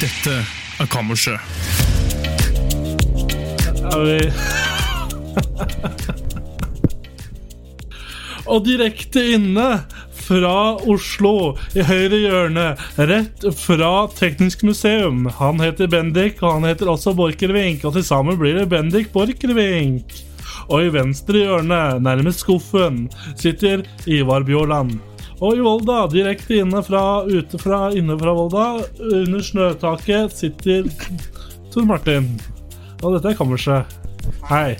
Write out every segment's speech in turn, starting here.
Dette er Kammerset. Og direkte inne fra Oslo, i høyre hjørne, rett fra Teknisk museum. Han heter Bendik, og han heter også Borchgrevink, og til sammen blir det Bendik Borchgrevink. Og i venstre hjørne, nærmest skuffen, sitter Ivar Bjåland. Og i Volda, direkte inne fra, ute fra, inne fra Volda, under snøtaket, sitter Tor Martin. Og dette er kammerset. Hei.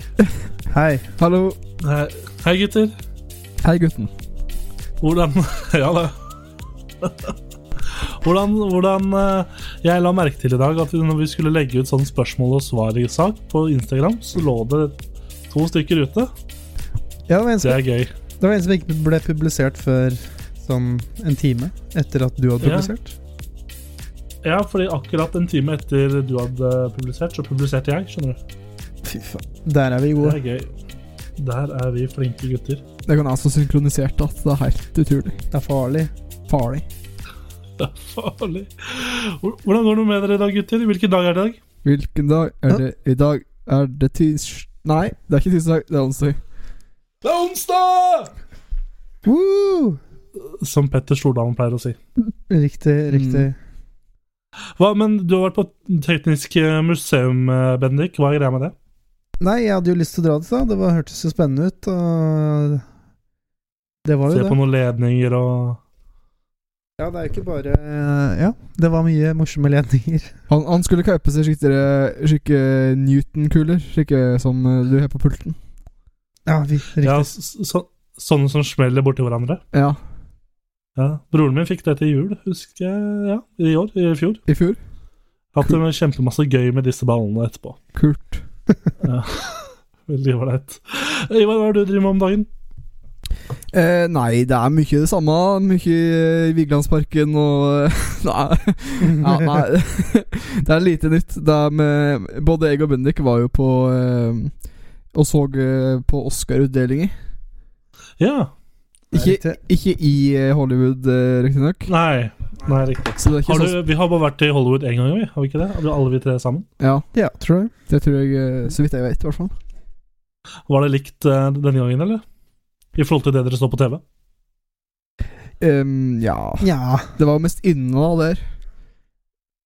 Hei. Hallo. Hei, Hei, gutter. Hei, gutten. Hvordan Ja, det. Hvordan, hvordan eh, Jeg la merke til i dag at når vi skulle legge ut sånn spørsmål og svar-sak på Instagram, så lå det to stykker ute. Ja, det var, en Det som, er gøy. det var en som ikke ble publisert før sånn en time etter at du hadde Ja. publisert. Ja, fordi akkurat en time etter du hadde publisert, så publiserte jeg. skjønner du Fy faen. Der er vi Det gode. er gøy. Der er vi flinke gutter. Det kan være så synkronisert at det er helt utrolig. Det er farlig. Farlig. Det er farlig. Hvor- Hvordan går det med dere i dag, gutter? Hvilken dag er det i dag? Hvilken dag er det i dag? Er det tirsdag Nei, det er ikke tirsdag, det er onsdag. Det er onsdag! Woo! Som Petter Stordalen pleier å si. Riktig, riktig. Hva, men du har vært på Teknisk eh, museum, eh, Bendik. Hva er greia med det? Nei, jeg hadde jo lyst til å dra dit, da. Det var, hørtes jo spennende ut. Og det var Se jo på det. noen ledninger og Ja, det er jo ikke bare Ja, det var mye morsomme ledninger. Han, han skulle kjøpe seg skikkelig, skikkelig Newton-kuler, skikkelig som eh, du har på pulten. Ja, vi, riktig. ja, så, så, sånne som smeller borti hverandre. Ja, Ja. Broren min fikk det til jul, husker jeg. Ja, I år. I fjor. i fjor. Hatt det kjempemasse gøy med disse ballene etterpå. Kult. Veldig ålreit. Ivar, hva er det du driver med om dagen? Eh, nei, det er mye det samme. Mye eh, Vigelandsparken og Nei. Ja, nei. det er lite nytt. Det er med, både jeg og Bendik var jo på eh, og så eh, på Oscar-utdelinger. Ja. Ikke, Riktig. Ikke i eh, Hollywood, eh, riktignok. Nei. Nei, riktig. Så det er ikke Har du, sånn vi har bare vært i Hollywood én gang, vi. Har vi ikke det? Har vi Alle vi tre sammen. Ja, Ja, tror jeg. det tror jeg eh, Så vidt jeg vet, i hvert fall. Var det likt eh, denne gangen, eller? I forhold til det dere så på TV? Ehm, ja Ja. Det var jo mest inne da, der.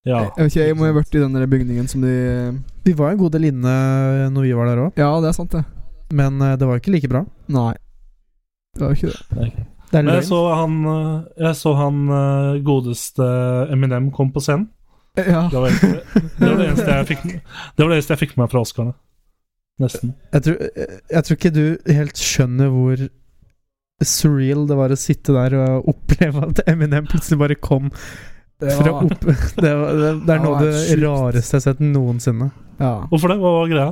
Ja. Jeg vet ikke, jeg må ha vært i den der bygningen som de eh, Vi var jo en god del inne når vi var der òg, Ja, det er sant, det. men eh, det var jo ikke like bra. Nei. Det var jo ikke det. Det er Men jeg løgn. så han, eh, jeg så han eh, godeste Eminem kom på scenen. Eh, Ja. Det var, egentlig- det, var det, eneste jeg fikk, det var det eneste jeg fikk med meg fra Oscarene. Nesten. Jeg tror, eh, jeg tror ikke du helt skjønner hvor surreal det var å sitte der og oppleve at Eminem plutselig bare kom fra Ja. opp... Det, var, det, det er Ja, noe av det er det sjukt. rareste jeg har sett noensinne. ja. Hvorfor det? Hva var greia?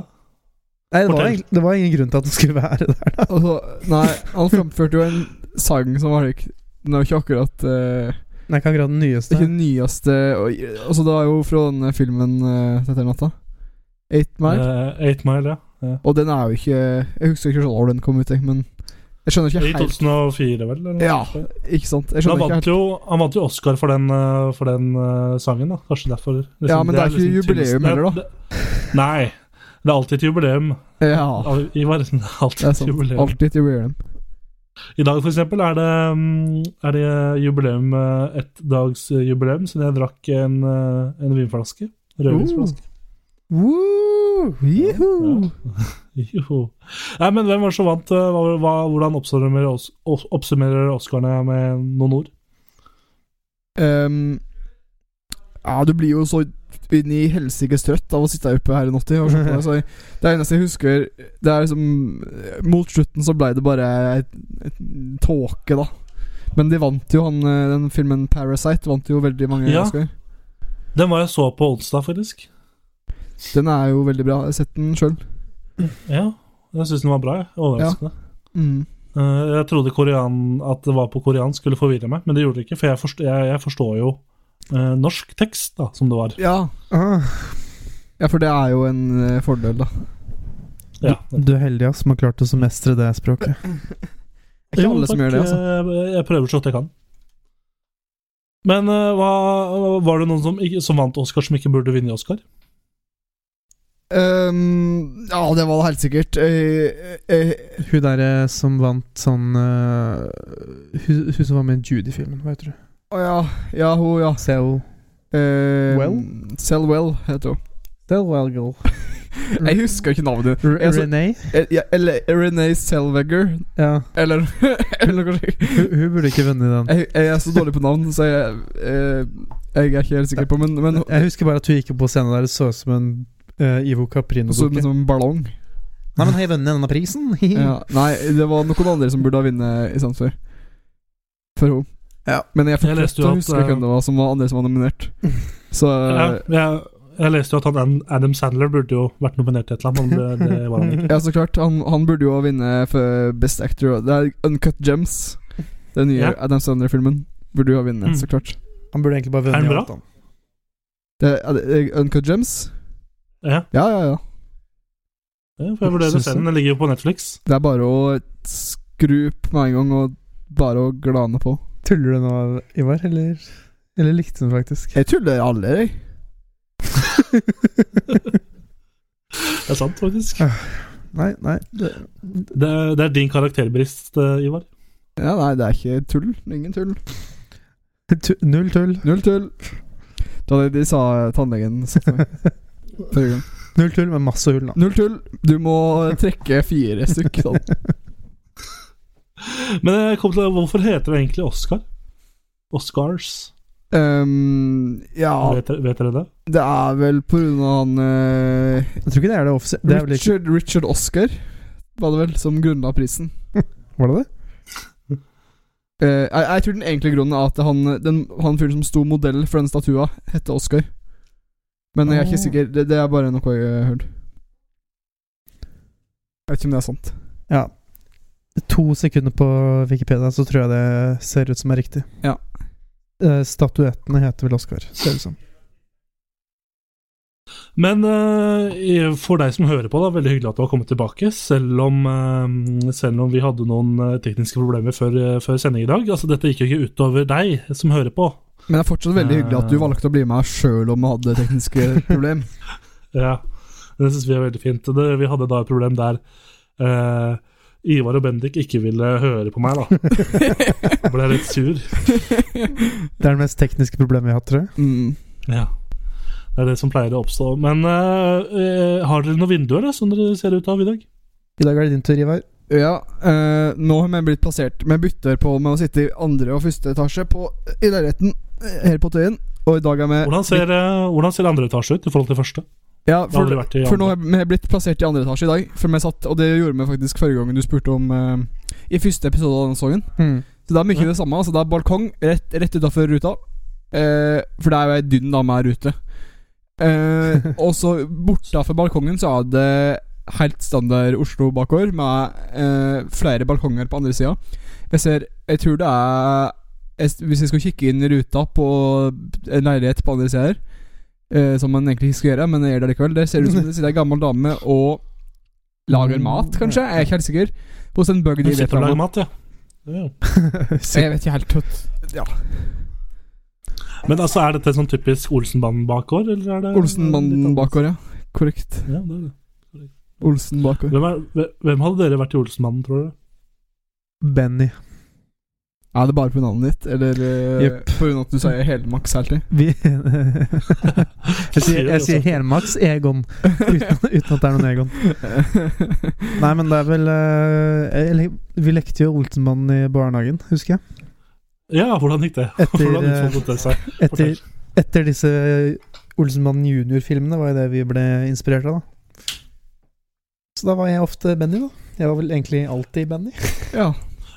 Nei, det var, Fortell. egentlig- det var ingen grunn til at han skulle være der. Og så- Altså, nei, han framførte jo en sang som var ikke Den er jo ikke akkurat eh, Nei, ikke akkurat den Det er nyeste. ikke den nyeste og, Altså, det er jo fra denne filmen uh, dette natta. Eight Mile. Eh, Eight Mile, ja. Og den er jo ikke Jeg husker ikke når den kom ut, jeg, men jeg skjønner I ikke helt 2004, vel? Eller noe Ja. sånt. Ikke sant? Men Han Jeg skjønner ikke vant, helt jo, han vant jo Oscar for den, eh, for den eh, sangen, da. Kanskje derfor. liksom, Ja, men det er ikke jubileum tynneste- heller, da. Det- Nei. Det er alltid et jubileum. Ja, Al- Ivar, det er alltid Ah. det er et sant. jubileum. Alltid til Weird I dag, for eksempel, er det, mm, er det jubileum, eh, ett dags eh, jubileum, siden jeg drakk en, eh, en vinflaske. Rødvinsflaske. Uh. Woo! Juhu! Jo. Nei, men hvem var det som vant? eh, Hva, hva, hvordan oppsummerer, os, os- oppsummerer Oscarene med noen ord? Um, ja, du blir jo så inn i helsikes trøtt av å sitte oppe her i natt. i og se på det, så jeg- Det eneste jeg husker Det er liksom Mot slutten så ble det bare et, et tåke, da. Men de vant jo han eh, den filmen Parasite. Vant jo veldig mange Ja. Oscar. Den var jeg så på onsdag, faktisk. Den er jo veldig bra. Jeg har sett den sjøl. Ja, jeg syns den var bra. jeg. Overraskende. Mm. Eh, jeg trodde korean, at det var på koreansk skulle forvirre meg, men det gjorde det ikke. For jeg forstår, jeg, jeg forstår jo eh, norsk tekst, da, som det var. Ja. Ah, ja, for det er jo en eh, fordel, da. Ja. du er heldig, ass, som har klart å mestre det språket. Det er ikke alle som gjør det, altså. Eh, Jeg, jeg prøver så godt jeg kan. Men eh, hva, var det noen som, ikke- som vant Oscar, som ikke burde vinne Oscar? Ehm, ja, det var det helt sikkert. Eh, eh, Hun derre som vant sånn eh, hun, hun som var med i Judy-filmen, hva heter hun? Å ja. Ja, hun, ja. Sel Eh, Well? Selwell heter hun. Delwelgal. Jeg husker ikke navnet. Jeg så- Renee? Eh, ja, Eller Renee Selweger. Ja. Eller, eller noe slikt. Hun, hun burde ikke vunnet den. Jeg, jeg er så dårlig på navn, så jeg, eh, jeg er ikke helt sikker på Men, men Jeg husker bare at hun gikk opp på scenen der og så ut som en eh, Ivo som, Caprino-dukke. som en ballong. Nei, men har jeg vunnet denne prisen? Ja. Nei, det var noen andre som burde ha vunnet i Sandfjord. For henne. Ja. Men jeg, Jeg leste jo fortsatt at, eh, husker ikke hvem det var som var andre som var nominert. Så Ja, jeg, jeg leste jo at han An- Adam Sandler burde jo vært nominert til et eller annet, men det, det var han ikke. Ja, så klart. Han, han burde jo vinne for Best Actor. Det er Uncut Gems. Den nye Ja. Adam Sandler-filmen. Burde jo ha vunnet, Mm. så klart. Han burde egentlig bare Er den vunnet bra? alt, han. Det, er det, er Uncut Gems? Ja, Ja, ja, ja. det får jeg vurdere Synes selv. Den ligger jo på Netflix. Det er bare å skru på med en gang, og bare å glane på. Tuller du nå, Ivar, eller, eller likte du den faktisk? Jeg tuller aldri, jeg. Det er sant, faktisk. Nei, nei. Det, Det, er- det er din karakterbrist, eh, Ivar. Ja, nei, det er ikke tull. Ingen tull. tu, null tull. Null tull. Da det de sa eh, tannlegen sa til meg forrige gang. Null tull med masse hull, da. Null tull. Du må trekke fire stykk. Sånn. Men jeg kom til det, hvorfor heter det egentlig Oscar? Oscars? Ehm, ja, Vet, dere- vet dere det? det er vel på grunn av han eh, Jeg tror ikke det er det offisielle det er vel ikke, Richard, Richard Oscar var det vel som grunnla prisen. Var det det? Eh, jeg, jeg tror den egentlige grunnen er at han, den, han fyren som sto modell for den statua, hette Oscar. Men jeg er ikke Ah. sikker. Det, det er bare noe jeg har hørt. Jeg vet ikke om det er sant. Ja. To sekunder på Wikipedia, så tror jeg det ser ut som er riktig. Ja. Eh, statuettene heter vel Oscar, ser det ut som. Men eh, for deg som hører på, da, veldig hyggelig at du har kommet tilbake. Selv om, eh, selv om vi hadde noen eh, tekniske problemer før, eh, før sending i dag. Altså, dette gikk jo ikke utover deg som hører på. Men det er fortsatt veldig hyggelig at du Eh. valgte å bli med sjøl om vi hadde tekniske problem. Ja, det syns vi er veldig fint. Det, vi hadde da et problem der eh, Ivar og Bendik ikke ville høre på meg, da. Jeg ble litt sur. Det er det mest tekniske problemet vi har hatt, tror jeg. Mm. Ja. Det er det som pleier å oppstå. Men eh, eh, har dere noen vinduer da, som dere ser ut av i dag? I dag er det din tur, Ivar. Ja, eh, nå har vi blitt plassert Vi bytter på med å sitte i andre og første etasje på, i leiligheten eh, her på Tøyen. Og i dag er vi Hvordan ser, eh, hvordan ser andre etasje ut i forhold til første? ja, Det har for, aldri vært i for nå andre. har vi blitt plassert i andre etasje i dag. For vi satt, og det gjorde vi faktisk forrige gangen du spurte om eh, I første episode av denne sesongen. Hmm. Så det er mye Ja. det samme. Altså det er balkong rett, rett utafor ruta. Eh, for det er jo ei dynn dame her ute. Eh, og så bortafor balkongen så er det helt standard Oslo bakgård, med eh, flere balkonger på andre sida. Jeg ser Jeg tror det er jeg, s- Hvis jeg skal kikke inn i ruta på en leilighet på andre sida her, eh, som man egentlig ikke skal gjøre, men jeg gjør det likevel, der ser det ut som det sitter ei gammel dame og Mm, lager mat, kanskje? Jeg er ikke helt sikker. Hos en bøgd Du i sitter og Vietnam. lager mat, ja. ja. Jeg vet ikke helt Ja. Men altså, er dette sånn typisk Olsenbanden-bakgård? eller er det- Olsenmannen bakgård, ja. Korrekt. Ja, det er det. Olsen bakgård. Hvem, er, hvem hadde dere vært i Olsenmannen, tror dere? Benny. Er det bare på navnet ditt, eller eh, Jep. på grunn av at du sier helmaks hele tiden? Vi Jeg sier, jeg sier helmaks Egon, uten, uten at det er noen Egon. Nei, men det er vel eh, jeg, le- Vi lekte jo Olsenmannen i barnehagen, husker jeg. Ja, hvordan gikk det? Etter, hvordan eh, utfoldet det seg? Etter, etter disse Olsenmannen junior-filmene var jo det vi ble inspirert av, da. Så da var jeg ofte Benny, da. Jeg var vel egentlig alltid Benny. ja.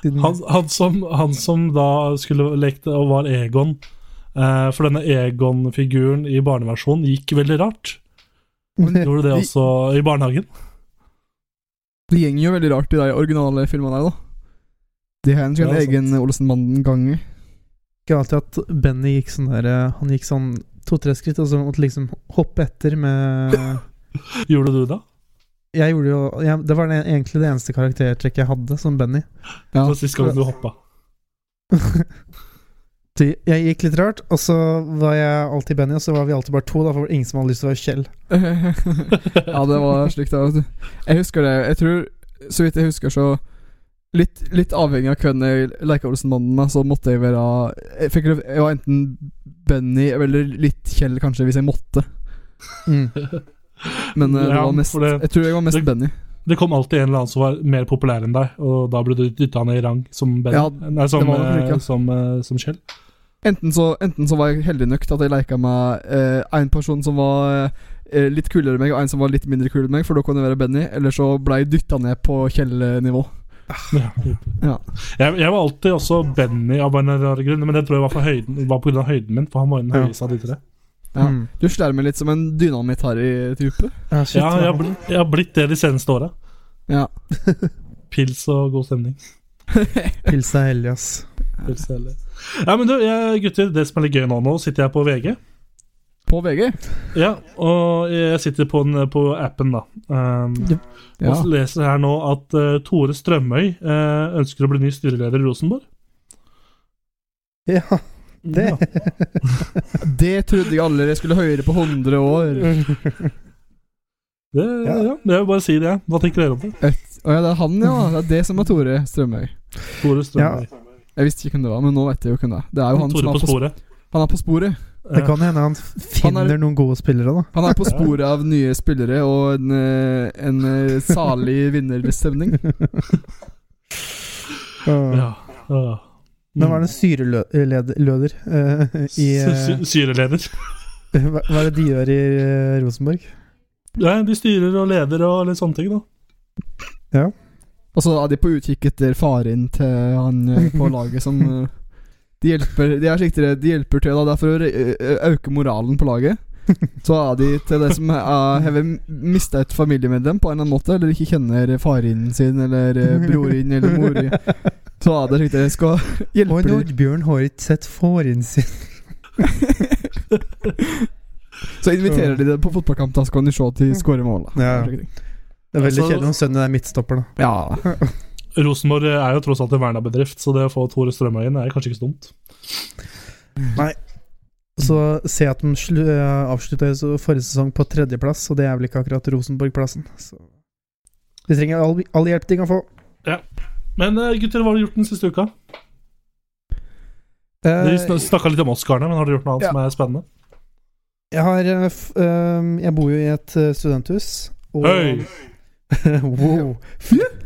Siden Han, han, som, han som da skulle lekt og var Egon eh, For denne Egon-figuren i barneversjonen gikk veldig rart. Gjorde du det også i barnehagen? Det gjenger jo veldig rart i de originale filmene her, da. De har en Ja, sånn sant. egen Olsenbanden-ganger. ikke alltid at Benny gikk sånn der eh, Han gikk sånn to-tre skritt, og så måtte liksom hoppe etter med Gjorde du det? Jeg gjorde jo jeg, Det var det, egentlig det eneste karaktertrekket jeg hadde, som Benny. Det Ja. var sist gang du hoppa. Så Jeg gikk litt rart, og så var jeg alltid Benny, og så var vi alltid bare to. Da for det var ingen som hadde lyst til å være Kjell. ja, det var slik det var. vet du. Jeg husker det. Jeg tror, så vidt jeg husker, så Litt, litt avhengig av hvem jeg leka Olsenbanden med, så måtte jeg være Jeg, fikk, lov- jeg var enten Benny eller litt Kjell, kanskje, hvis jeg måtte. Mm. Men eh, det Ja, var mest, for det- jeg tror jeg var mest det- Benny. Det kom alltid en eller annen som var mer populær enn deg, og da ble du dytta ned i rang som Ben. Ja, Nei, som, det var det for ikke. eh, som, eh, som Kjell. Enten så, enten så var jeg heldig nok til at jeg leka med eh, en person som var eh, litt kulere enn meg, og en som var litt mindre kul enn meg, for da kunne jeg være Benny. Eller så ble jeg dytta ned på Kjell-nivå. Ja. Ja. Jeg, jeg var alltid også Benny av en eller annen grunn, men det tror jeg var, for høyden, var på grunn av høyden min, for han var jo den Ja. høyeste av de tre. Ja. Mm. Du slår meg litt som en dynamitt-harry-type. Ja, shit, Ja, jeg, har hva- bl- jeg har blitt det de seneste åra. Ja. Pils og god stemning. Pils er hellig, ass. Pils eller- Ja, men du, jeg, gutter, det som er litt gøy nå, nå sitter jeg på VG. På VG. Ja, og jeg sitter på, den, på appen, da. Um, Ja. Og så leser jeg her nå at eh, Tore Strømøy eh, ønsker å bli ny styreleder i Rosenborg. Ja, det Ja. Det trodde jeg aldri jeg skulle høre på 100 år. Det, ja. Ja. det vil bare si det. Hva tenker dere om det? Å ja, det er han, ja. Det er det som er Tore Strømøy. Tore Strømøy. Jeg visste ikke hvem det var, men nå vet jeg jo hvem det er. Det er jo han Tore på som er på, sporet. han er på sporet. Det kan hende han finner noen gode spillere, da. Han er på sporet av nye spillere og en, eh, en eh, salig vinnerstemning. Uh, Ja. ja. Men var det en styreleder eh, i eh, Mm. Sy- Syreleder. Hva hva er det de gjør i eh, Rosenborg? Nei, de styrer og leder og litt sånne ting, da. Og så er de på utkikk etter faren til han eh, på laget som eh, De hjelper De er slik dere- de hjelper til, da. Det er for å re- ø- øke moralen på laget. Så er de til det som er- har mista et familiemedlem på en eller annen måte, eller ikke kjenner faren sin eller eh, broren eller moren. Så er det slik dere skal Og hjelpe dem. Nordbjørn har ikke sett fåren sin. Så inviterer de dem på fotballkamp, da så kan de se at de skårer mål. da. Mm. Ja. Det er veldig Altså- kjedelig om sønnen er midtstopper, da. Ja. Rosenborg er jo tross alt en Verna-bedrift, så det å få Tore Strømøy inn er kanskje ikke så dumt. Så ser jeg at de slu- eh, avslutta jo så- forrige sesong på tredjeplass, og det er vel ikke akkurat Rosenborg-plassen. Så de trenger all, all hjelp de kan få. Men eh, gutter, hva har dere gjort den siste uka? Vi Eh, snakka litt om Oscarene, men har dere gjort noe annet Ja. som er spennende? jeg har eh, f, eh, Jeg bor jo i et eh, studenthus, og Høy! Wow!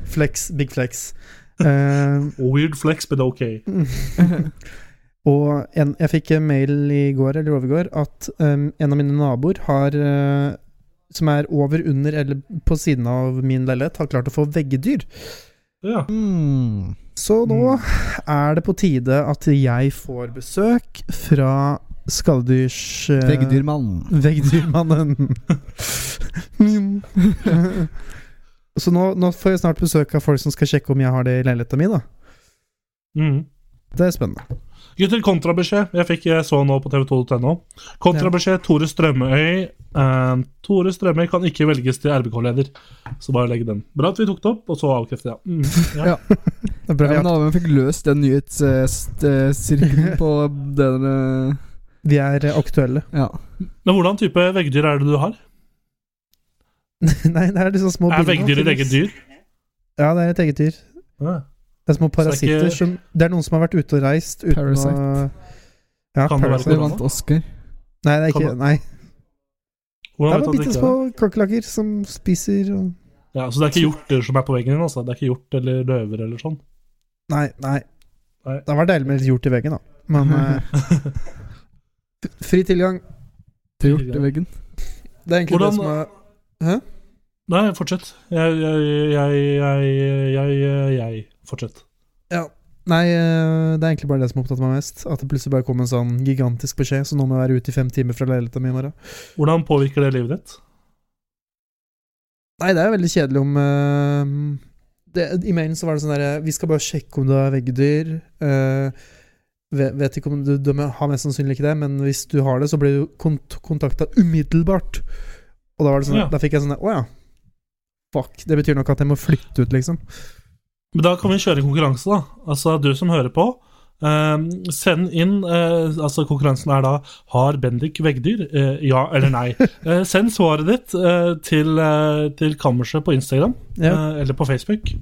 Flex, big flex. Eh, Weird flex, but ok. Og en, jeg fikk en mail i går eller overgår at um, en av mine naboer har eh, som er over, under eller på siden av min leilighet, har klart å få veggedyr. Ja. Mm. Så nå er det på tide at jeg får besøk fra skadedyrs... eh, Veggdyrmann. Veggdyrmannen. Mm. Så nå, nå får jeg snart besøk av folk som skal sjekke om jeg har det i leiligheta mi, da. Mm. Det er spennende. Gutter, kontrabeskjed. Jeg fikk jeg så nå på tv2.no. Kontrabeskjed Tore Strømøy. Eh, Tore Strømøy kan ikke velges til RBK-leder. Så bare legg den. Bra at vi tok det opp, og så avkreftet jeg. Mm, ja. Ja. Det er bra vi Ja, men da har vi fikk løst den eh, nyhetssirkelen på den eh, har- vi er eh, aktuelle. Ja. Men hvordan type veggdyr er det du har? Nei, det er liksom små Er biler, veggdyr ditt eget naturligvis. dyr? Ja, det er et eget dyr. Ja. Det er små det er parasitter ikke- som Det er noen som har vært ute og reist uten Parasite. å Ja, Kan det være Så vi parasite. korona? vant Oscar. Nei, det er Kan ikke det- Nei. Det Hvordan vet du er bare at det bitte ikke små er? kakerlakker som spiser og Ja, så det er ikke hjorter som er på veggen din? altså. Det er ikke hjort eller løver eller sånn? Nei, nei. Nei. Det har vært deilig med litt hjort i veggen, da. Men eh, f- Fri tilgang. Til hjorteveggen. Det er egentlig Hvordan- det som er Nei, fortsett. Jeg, jeg, jeg, jeg, jeg, jeg Fortsett. Ja. Nei, eh, det er egentlig bare det som opptatt meg mest. At det plutselig bare kom en sånn gigantisk beskjed, så nå må jeg være ute i fem timer fra leiligheta mi i morgen. Hvordan påvirker det livet ditt? Nei, det er jo veldig kjedelig om eh, det, I mailen så var det sånn derre Vi skal bare sjekke om du har veggdyr. eh, ve- vet ikke om du, du har mest sannsynlig ikke det, men hvis du har det, så blir du kont kontakta umiddelbart. Og da var det sånn Ja. Da fikk jeg sånn Å ja. Fuck. Det betyr nok at jeg må flytte ut, liksom. Men da kan vi kjøre en konkurranse, da. Altså, du som hører på. eh, send inn eh, Altså, konkurransen er da Har Bendik veggdyr? Eh, ja eller nei? Eh, send svaret ditt eh, til, eh, til kammerset på Instagram Ja. eh, eller på Facebook.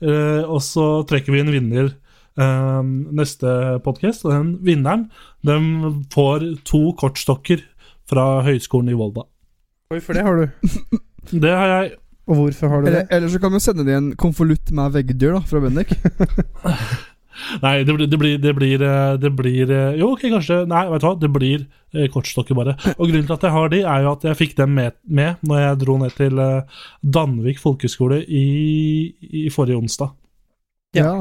Eh, og så trekker vi en vinner eh, neste podkast. Og den vinneren den får to kortstokker fra Høgskolen i Volda. Oi, for det har du. Det har jeg. Og hvorfor har du det? Eller, eller så kan vi jo sende dem en konvolutt med veggdyr da, fra Bendik. Nei, det blir, det blir, det blir, eh, det blir eh, Jo, ok, kanskje Nei, vet du hva, det blir eh, kortstokker bare. Og grunnen til at jeg har de, er jo at jeg fikk dem med, med når jeg dro ned til eh, Danvik folkehøgskole i, i forrige onsdag. Ja.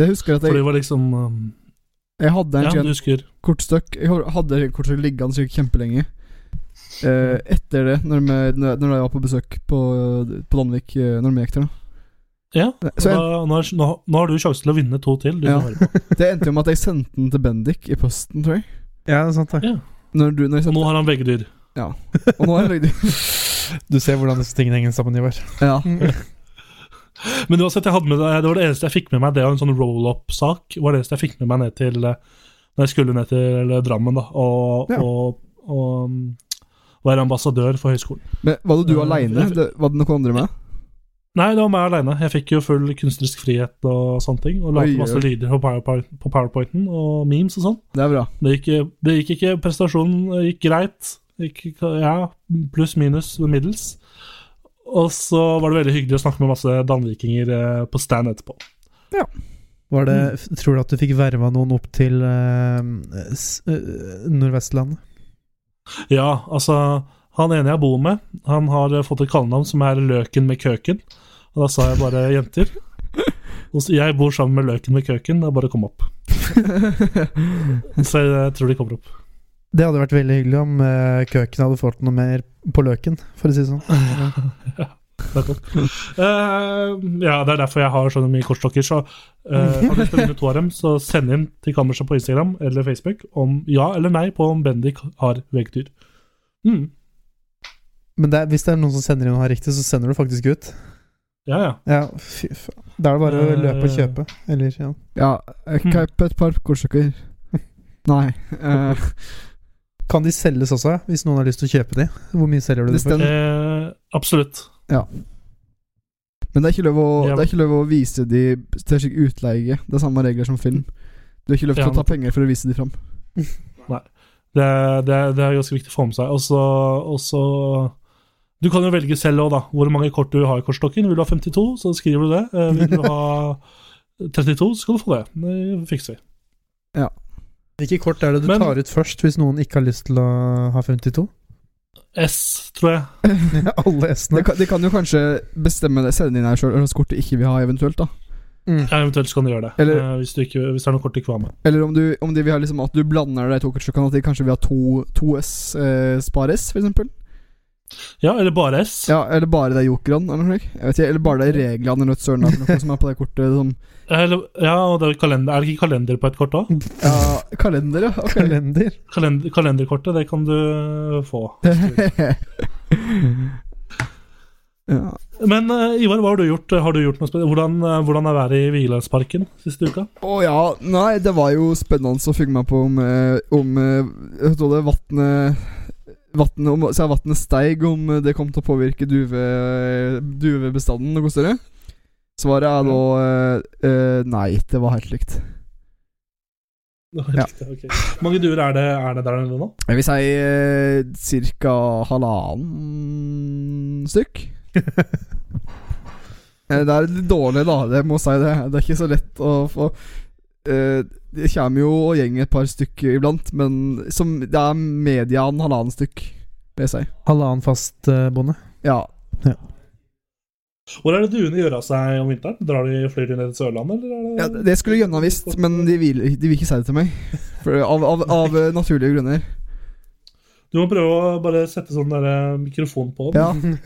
Det husker jeg at For det jeg, var liksom jeg eh, hadde en Ja, du sånn husker. kortstøkk Jeg hadde et kortstøkk liggende sikkert kjempelenge. Eh, etter det, når, vi, når når jeg var på besøk på, på Danvik eh, når vi gikk der. da. Eh, Ja. Så Da, nå, er- nå, nå har du sjansen til å vinne to til. Du Ja. som hører på. Det endte jo med at jeg sendte den til Bendik i posten, tror jeg. Ja, det er sant, takk. Når du, når jeg Og sendte, nå har han begge dyr. og nå har jeg lagd Du ser hvordan disse tingene henger sammen, Ivar. Ja. Men uansett, jeg hadde med, det var det eneste jeg fikk med meg. Det var en sånn roll-up-sak. var det eneste jeg fikk med meg ned til eh, Når jeg skulle ned til eh, Drammen da, og, Ja. og, og mm, være ambassadør for høyskolen. Men var det du Ja, aleine? jeg- Var det noen andre med? Nei, det var meg aleine. Jeg fikk jo full kunstnerisk frihet og sånne ting. Og lagde Oi, masse oi. lyder på, PowerPoint, på powerpointen og memes og sånn. Det er bra. Det, gikk- det gikk ikke. Prestasjonen gikk greit. Gikk, ja, Pluss-minus middels. Og så var det veldig hyggelig å snakke med masse danvikinger eh, på stand etterpå. Var det, f- Tror du at du fikk verva noen opp til uh, Nordvestlandet? Ja, altså Han ene jeg bor med, han har eh, fått et kallenavn som er Løken med køken. Og da sa jeg bare 'jenter'. Og så, jeg bor sammen med Løken med køken. Da bare kom opp. Så jeg tror de kommer opp. Det hadde vært veldig hyggelig om eh, køken hadde fått noe mer på løken, for å si det sånn. Eh, ja, det er derfor jeg har sånne mye kortstokker. Så eh, har du lyst til å vinne to av dem, så send inn til kammerset på Instagram eller Facebook om ja eller nei på om Bendik har veggdyr. Mm, Men det er, hvis det er noen som sender inn og har riktig, så sender du faktisk ut. ja, ja. Ja, fy faen. Da er det bare å løpe og kjøpe. Eller, ja. Ja. eh, Kjøp et par kortstokker. Nei. eh, Kan de selges også, hvis noen har lyst til å kjøpe de? Hvor mye selger du de Det for? stemmer. Eh, absolutt. men det er, ikke lov å, Ja. det er ikke lov å vise de til slik utleie. Det er samme regler som film. Du er ikke lov til Ja, å ta penger for å vise de fram. Det, det, det er ganske viktig å få med seg. Og så- Og så Du kan jo velge selv òg, da. Hvor mange kort du har i kortstokken. Vil du ha 52, så skriver du det. Eh, Vil du ha 32, så skal du få det. Det fikser vi. Hvilke kort er det du Men- tar ut først, hvis noen ikke har lyst til å ha 52? S, tror jeg. Alle De S-ene. kan, de kan jo kanskje bestemme det, sende inn her sjøl, eller kort de ikke vil ha, eventuelt. da Mm. Ja, Eventuelt så kan du gjøre det. Eller- eh, hvis, du ikke, hvis det er noen kort du ikke var med. Eller om, du, om de vil ha liksom at du blander de to kortstokkene, at de kanskje vil ha to, to S, eh, spar S, for eksempel. Ja, eller bare S. Ja, eller bare de jokerne, eller noe slikt. Jeg vet ikke, Eller bare de reglene eller noe søren eller noe som er på det kortet. Sånn. Eller, ja og det er, jo kalender, er det ikke kalender på et kort òg? Mm. Ja, kalender, ja. ok. Kalender. Kalender, kalenderkortet, det kan du eh, få. ja. Men eh, Ivar, hva har du gjort? Har du gjort noe spennende? Hvordan, eh, hvordan er været i Hvilandsparken siste uka? Å ja. Nei, det var jo spennende å fikk meg på om, eh, om eh, Vet du hva det vannet Vannet, om, så vannet steig om eh, det kom til å påvirke duve, duvebestanden noe større. Svaret er da eh, eh, nei, det var helt likt. Ja. Ok. Hvor mange duer er det, er det der nede nå? Jeg vil si eh, ca. halvannen stykk. Eh, Det er litt dårlig, da. Det må jeg si det. Det er ikke så lett å få eh, Det kommer jo og gjeng et par stykk iblant, men som, det er median halvannen stykk, vil jeg si. Halvannen fast eh, bonde. Ja. Ja. Hvor er det duene gjør av seg om vinteren? Drar de, Flyr de ned til Sørlandet, eller Ja, er det det skulle Jønna visst, men de vil, de vil ikke si det til meg. For, av, av, av eh, naturlige grunner. Du må prøve å bare sette sånn der eh, mikrofon på dem. Ja.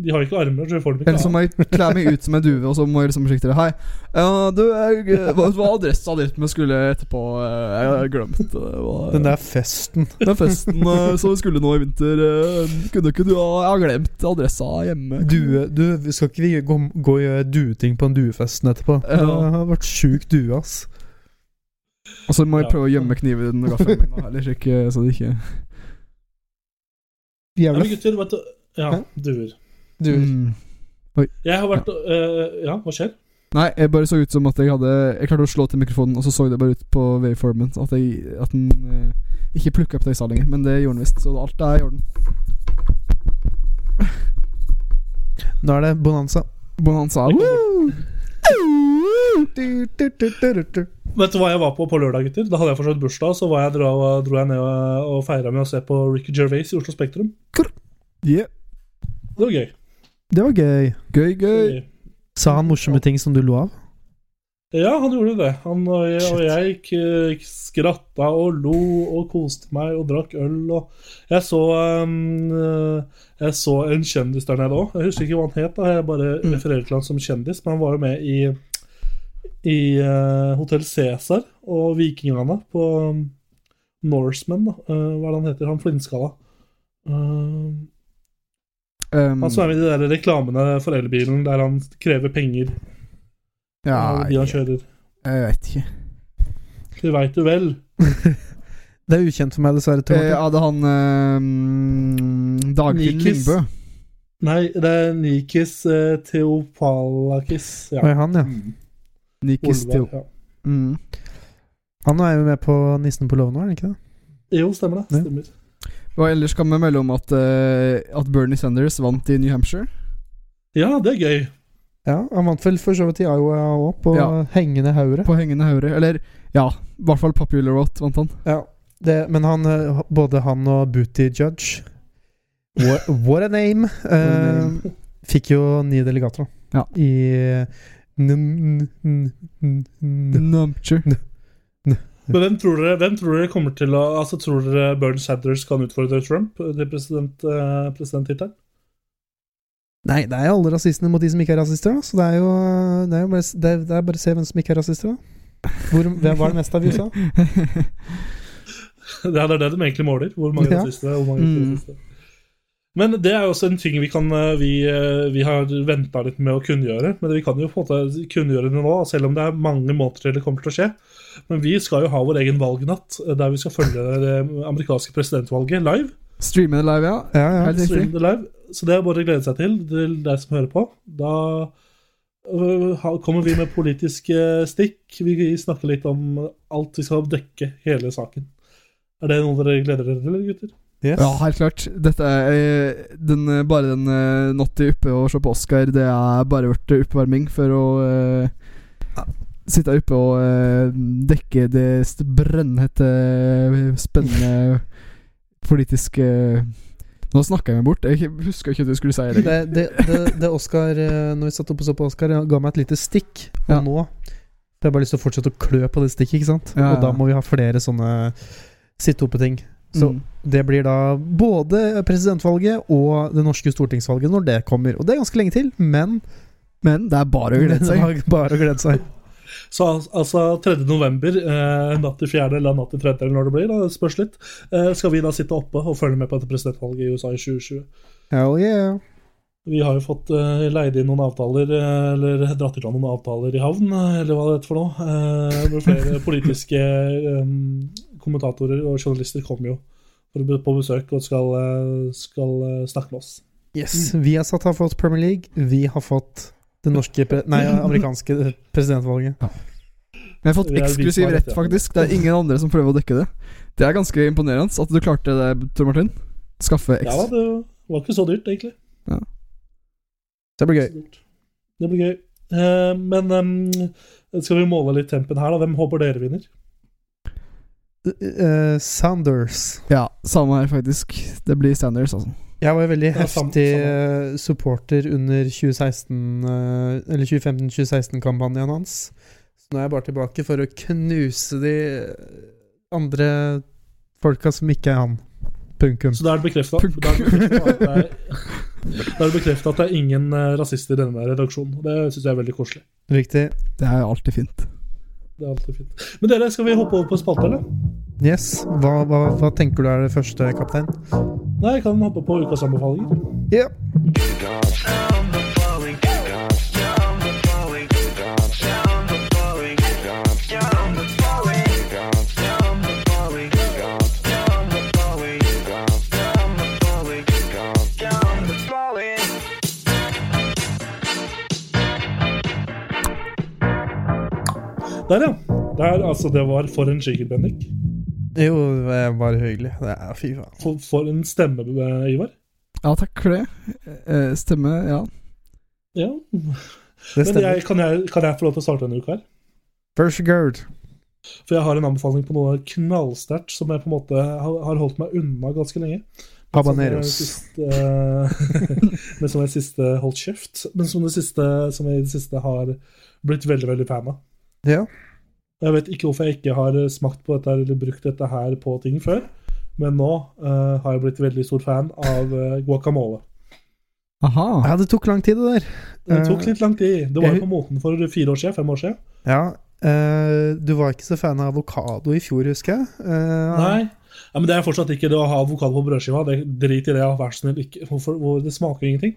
De har ikke armer, så vi får dem ikke Eller så av. må jeg kle meg ut som en duve, og så må jeg liksom sikte det. Hei, ja, du, jeg, eh, hva var adressa di vi skulle etterpå? Eh, Jeg har glemt eh, det. Var, Den der festen. den festen eh, som vi skulle nå i vinter. eh, Kunne ikke du ha Jeg har glemt adressa hjemme. Due, du, skal ikke vi gå, gå og gjøre dueting på en duefesten etterpå? Ja. Det har vært sjukt due, ass. Og så må jeg eh, Ja. prøve å gjemme kniven og gaffelen min, og heller sjekke så det ikke Ja, Jævla men gutter, vet du Ja, Hæ? duer. duer. Mm. Jeg har vært eh, Ja, hva skjer? Nei, jeg bare så ut som at jeg hadde Jeg klarte å slå til mikrofonen, og så så det bare ut på waveformen at, jeg, at den eh, ikke plukka opp det jeg sa lenger. Men det gjorde den visst, så alt er i orden. Nå er det bonanza. Bonanza. Jeg Woo! Vet du hva jeg var på på lørdag, gutter? Da hadde jeg fortsatt bursdag, så var jeg, dro, dro jeg ned og, og feira med å se på Ricky Gervais i Oslo Spektrum. Yeah. Det var gøy. Det var gøy. Gøy, gøy. Sa han morsomme ting som du lo av? Ja, han gjorde det. Han og jeg, og jeg gikk, eh, gikk skratta og lo og koste meg og drakk øl og Jeg så em, eh, Jeg så en kjendis der nede òg. Jeg husker ikke hva han het, da. jeg bare Mm. refererer til han som kjendis, men han var jo med i i uh, Hotell Cæsar og Vikingene på um, Norseman, da. Eh, hva er det han heter? Han flintskalla. Eh, Um, han som er med i de der reklamene for elbilen der han krever penger ja, av de han jeg, kjører. jeg vet ikke. Det veit du vel. Det er ukjent for meg, dessverre. Tor Eh, Martin. hadde han um, Dagfinn Nikis. Lyngbø. Nei, det er Nikis eh, Theopalakis. Ja. Oi, han, ja. Mm. Nikis Theo. Olvar, ja. Mm. Han er jo med på Nissen på låven nå, er han ikke det? Jo, stemmer det. Ja. Stemmer. Og ellers kan vi melde om at, eh, at Bernie Sanders vant i New Hampshire. Ja, det er gøy. Ja, Han vant vel for så vidt i Iowa òg, på Ja. hengende haure. På hengende haure. Eller ja, i hvert fall Popular Vote vant han. Ja, det, men han, eh, både han og Booty Judge What, what a name! Eh, fikk jo ni delegater, da. Ja. I eh, n n n n n Numpture. Men hvem tror dere, hvem tror dere kommer til å Altså, tror dere Bernie Sanders kan utfordre Trump til president, eh, presidenttittelen? Nei, det er jo alle rasistene mot de som ikke er rasister, da. Så det er jo, det er jo bare, det er, det er bare å se hvem som ikke er rasister, da. Hvor, hvem var det mest av i USA? Det er det er det de egentlig måler. Hvor mange Ja. rasister og hvor mange ikke Mm. rasister. Men det er jo også en ting vi kan eh, Vi, eh, vi har venta litt med å kunngjøre. Men vi kan jo på en måte kunngjøre det nå, selv om det er mange måneder til det kommer til å skje. Men vi skal jo ha vår egen valgnatt, eh, der vi skal følge det eh, amerikanske presidentvalget live. Streame det live, ja. Ja, ja. Helt riktig. Stream det live. Så det er bare å glede seg til, til deg som hører på. Da øh, ha- kommer vi med politiske stikk. Vi snakker litt om alt vi skal dekke, hele saken. Er det noe dere gleder dere til, gutter? Yes. Ja, helt klart. Dette er eh, den, eh, Bare den eh, natt i oppe og se på Oscar, det er bare vært oppvarming for å eh, sitte oppe og eh, dekke det st- brennhette, eh, spennende politiske eh, Nå snakka jeg meg bort. Jeg husker ikke at du skulle si det. Det, det, det, det Oscar eh, Når vi satt oppe og så på Oscar, ga meg et lite stikk. Og Ja. nå får jeg bare lyst til å fortsette å klø på det stikket, ikke sant? Ja, ja. Og da må vi ha flere sånne sitte-oppe-ting. Så Mm. det blir da både presidentvalget og det norske stortingsvalget når det kommer. Og det er ganske lenge til, men Men det er bare å glede det seg. er bare å glede seg. Så al- altså 3. november, eh, natt til 4. eller natt til 3. eller når det blir, da, det spørs litt, eh, skal vi da sitte oppe og følge med på dette presidentvalget i USA i 2020. Hell yeah. Vi har jo fått eh, leid inn noen avtaler, eh, eller dratt i land noen avtaler i havn, eh, eller hva det heter for noe. Eh, hvor flere politiske eh, kommentatorer og journalister kommer jo for å be- på besøk og skal, eh, skal eh, snakke med oss. Yes. Vi har satt har fått Premier League. Vi har fått det norske pre Nei, amerikanske eh, presidentvalget. Vi har fått Vi er eksklusiv vist rett, på rett, ja. faktisk. Det er ingen andre som prøver å dekke det. Det er ganske imponerende at du klarte det, Tor Martin. Skaffe Ja, eks. det var ikke så dyrt, egentlig. Det blir gøy. Så dyrt. Det blir gøy. Eh, men eh, skal vi måle litt tempen her, da? Hvem håper dere vinner? Eh, Sanders. Ja, samme her, faktisk. Det blir Sanders, altså. Jeg var jo veldig Ja, sam- heftig eh, supporter under 2016 eh, Eller 2015-2016-kampanjen hans. Så nå er jeg bare tilbake for å knuse de eh, andre folka som ikke er han. Punktum. Så da er det bekrefta da er det bekreftet at, det er- da er det bekreftet at det er ingen eh, rasister i denne redaksjonen. og Det syns jeg er veldig koselig. Riktig. Det er jo alltid fint. Det er alltid fint. Men dere, skal vi hoppe over på spalte, eller? Yes. Hva, hva, hva tenker du er det første, kaptein? Nei, jeg kan hoppe på ukas anbefalinger. Ja. Der, ja. Der, altså, det var for en jigger, Bendik. Jo, det er bare hyggelig. Det er, fy faen. For, for en stemme, eh, Ivar. Ja, takk for det. Eh, Stemme, ja. Ja. Det Men stemmer. jeg, kan, jeg, kan jeg få lov til å starte denne uka her? First guard. For jeg har en anbefaling på noe knallsterkt som jeg på en måte har, har holdt meg unna ganske lenge. Men som jeg Habaneros. sist, eh, men som jeg siste holdt kjeft. Men som, det siste, som jeg i det siste har blitt veldig, veldig fan av. Ja. Jeg vet ikke hvorfor jeg ikke har smakt på dette her, eller brukt dette her på ting før, men nå eh, har jeg blitt veldig stor fan av eh, guacamole. Aha. ja, det tok lang tid, det der. Det Eh, tok litt lang tid. Det var jeg- jo på måten for fire år siden, fem år siden. Ja. eh, du var ikke så fan av avokado i fjor, husker jeg. Eh, Nei. Ja, men det er fortsatt ikke det å ha avokado på brødskiva. Det, drit i det, ja, vær så snill. Ikke, hvorfor, hvor, det smaker jo ingenting.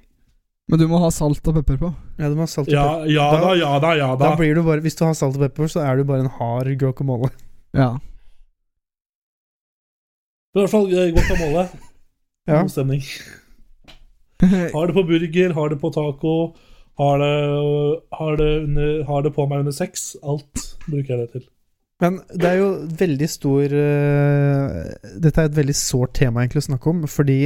Men du må ha salt og pepper på. Ja, du må ha salt og Ja, pepper. ja da, ja da, ja da. Da blir du bare, hvis du har salt og pepper, så er du bare en hard guacamole. Ja. Men I hvert fall eh, guacamole. Ja. God stemning. Har det på burger, har det på taco, har det, har det, under, har det på meg under sex. Alt bruker jeg det til. Men det er jo veldig stor eh, Dette er et veldig sårt tema egentlig å snakke om, fordi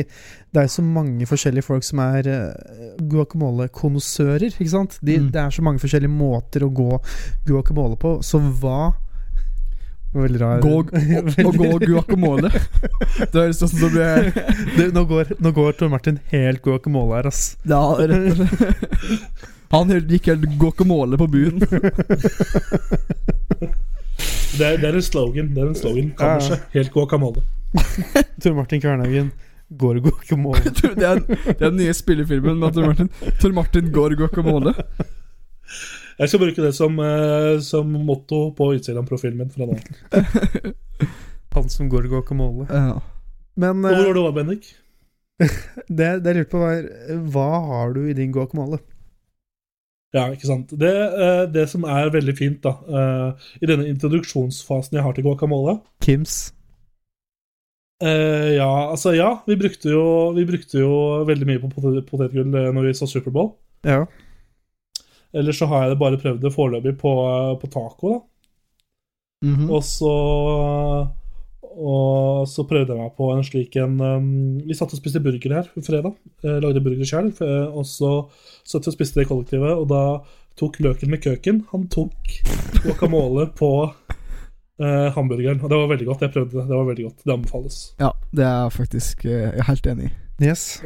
det er så mange forskjellige folk som er eh, guacamole-konnissører, ikke sant? De, Mm. Det er så mange forskjellige måter å gå guacamole på, så hva Veldig rar Gå, og, og gå guacamole. Det høres ut som du blir Du, nå, går, nå går Tor Martin helt guacamole her, ass. Ja, rett og slett. Han helt- gikk helt guacamole på buen. Det er, det er en slogan. det er en slogan, Ja. Kanskje. Helt guacamole. Tor Martin Kvernhaugen går guacamole. Du, Det er, det er den nye spillefilmen med Tor Martin. Tor Martin går guacamole. Jeg skal bruke det som, eh, som motto på Instagram-profilen min fra nå av. Han som går guacamole. Ja. Men Og eh, Hvor var du, Bendik? Det, det jeg lurte på, var eh, hva har du i din guacamole? Ja, ikke sant. Det, eh, det som er veldig fint da, eh, i denne introduksjonsfasen jeg har til guacamole Kims. eh, Ja, altså ja, vi brukte jo, vi brukte jo veldig mye på potet, potetgull eh, når vi så Superbowl. Ja. Eller så har jeg det bare prøvd det foreløpig på, eh, på taco, da. Mm. Mhm. Og så og så prøvde jeg meg på en slik en um, Vi satt og spiste burger her på fredag. Eh, lagde burger sjøl. Og så satt vi og spiste det i kollektivet, og da tok løken med køken Han tok guacamole på eh, hamburgeren. Og det var veldig godt. Jeg prøvde det. Det var veldig godt. Det anbefales. Ja, det er jeg faktisk eh, helt enig i. Yes.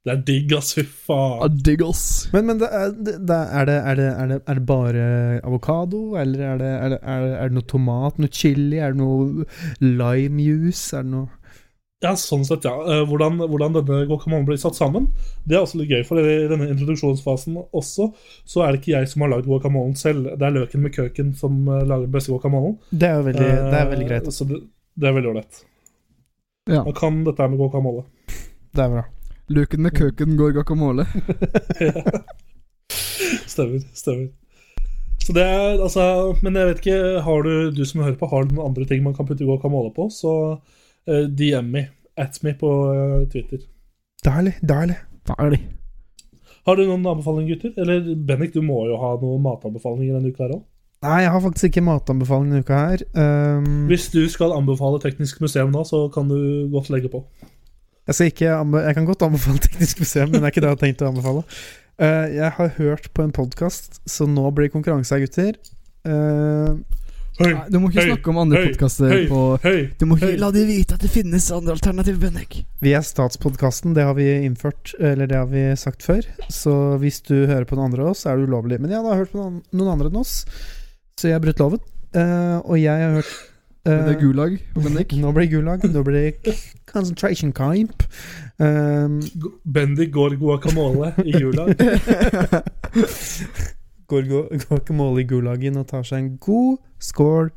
Det er digg, ass. Fy Ah, faen. Digg, ass. Men, men det er, det, det er, det, er, det, er, det, er det bare avokado, eller er det, er, det, er, det, er det noe tomat, noe chili, er det noe limejuice, er det noe Ja, sånn sett, ja. Eh, Hvordan, hvordan denne guacamolen blir satt sammen, det er også litt gøy. For i denne introduksjonsfasen også, så er det ikke jeg som har lagd guacamolen selv. Det er løken med køken som eh, lager den beste guacamolen. Det er jo veldig, det er veldig Eh, greit. Så det, det er veldig ålreit. Ja. Man kan dette her med guacamole. Det er bra. Luken med køken går guacamole. Stemmer. Stemmer. Så det er, altså, men jeg vet ikke, har du, du som hører på, har du noen andre ting man kan putte guacamole på, så eh, DM me, at me på eh, Twitter. Deilig, deilig. Deilig. Har du noen anbefalinger, gutter? Eller Bennik, du må jo ha noen matanbefalinger denne uka her òg. Nei, jeg har faktisk ikke matanbefaling denne uka her. Ehm, Hvis du skal anbefale Teknisk museum nå, så kan du godt legge på. Jeg, skal ikke anbe jeg kan godt anbefale Teknisk museum, men det er ikke det jeg har tenkt å anbefale. Eh, jeg har hørt på en podkast, så nå blir det konkurranse her, gutter. Eh, Høy, Nei, du må ikke Høy. snakke om andre Høy. podkaster høy, på høy. Du må ikke Høy. la de vite at det finnes andre alternativ, Bendik. Vi er Statspodkasten, det har vi innført, eller det har vi sagt før. Så hvis du hører på noen andre av oss, er det ulovlig. Men jeg har da hørt på noen, noen andre enn oss, så jeg har brutt loven. Eh, og jeg har hørt eh, Det er gulag, Bendik. Nå blir det gulag, nå blir det k- concentration camp. Um, G- Bendik går guacamole i jula. går gu- guacamole i gulagen og tar seg en god skål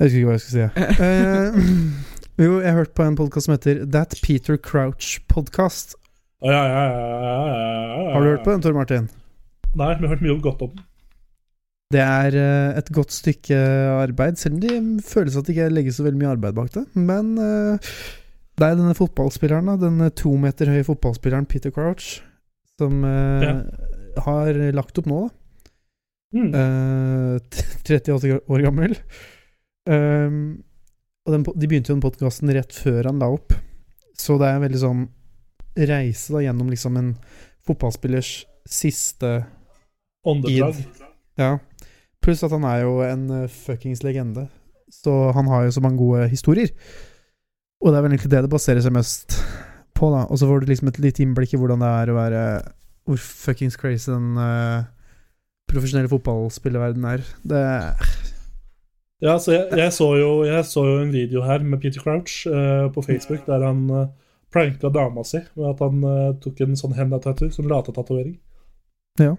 Jeg husker ikke hva jeg skulle si. jeg. Eh, jo, jeg har hørt på en podkast som heter That Peter Crouch Podcast. Ja, ja, ja, ja, ja, ja. Har du hørt på den, Tor Martin? Nei, vi har hørt mye godt om den. Det er eh, et godt stykke arbeid, selv om det føles at det ikke legges så veldig mye arbeid bak det. Men eh, det er denne fotballspilleren, da, denne to meter høye fotballspilleren Peter Crouch, som eh, har lagt opp nå, da. Mm. Eh, t- 38 år gammel. Ehm, og den, po- de begynte jo den podkasten rett før han la opp. Så det er en veldig sånn reise da gjennom liksom en fotballspillers siste Åndedrag. Ja. Pluss at han er jo en eh, fuckings legende. Så han har jo så mange gode historier. Og det er vel egentlig det det baserer seg mest på, da. Og så får du liksom et lite innblikk i hvordan det er å være Hvor fuckings crazy den eh, profesjonelle fotballspillerverdenen er. Det Ja, så jeg, jeg, så jo, jeg så jo en video her med Peter Crouch eh, på Facebook der han eh, pranka dama si med at han eh, tok en sånn henda-tattoo, sånn latetatovering. Ja.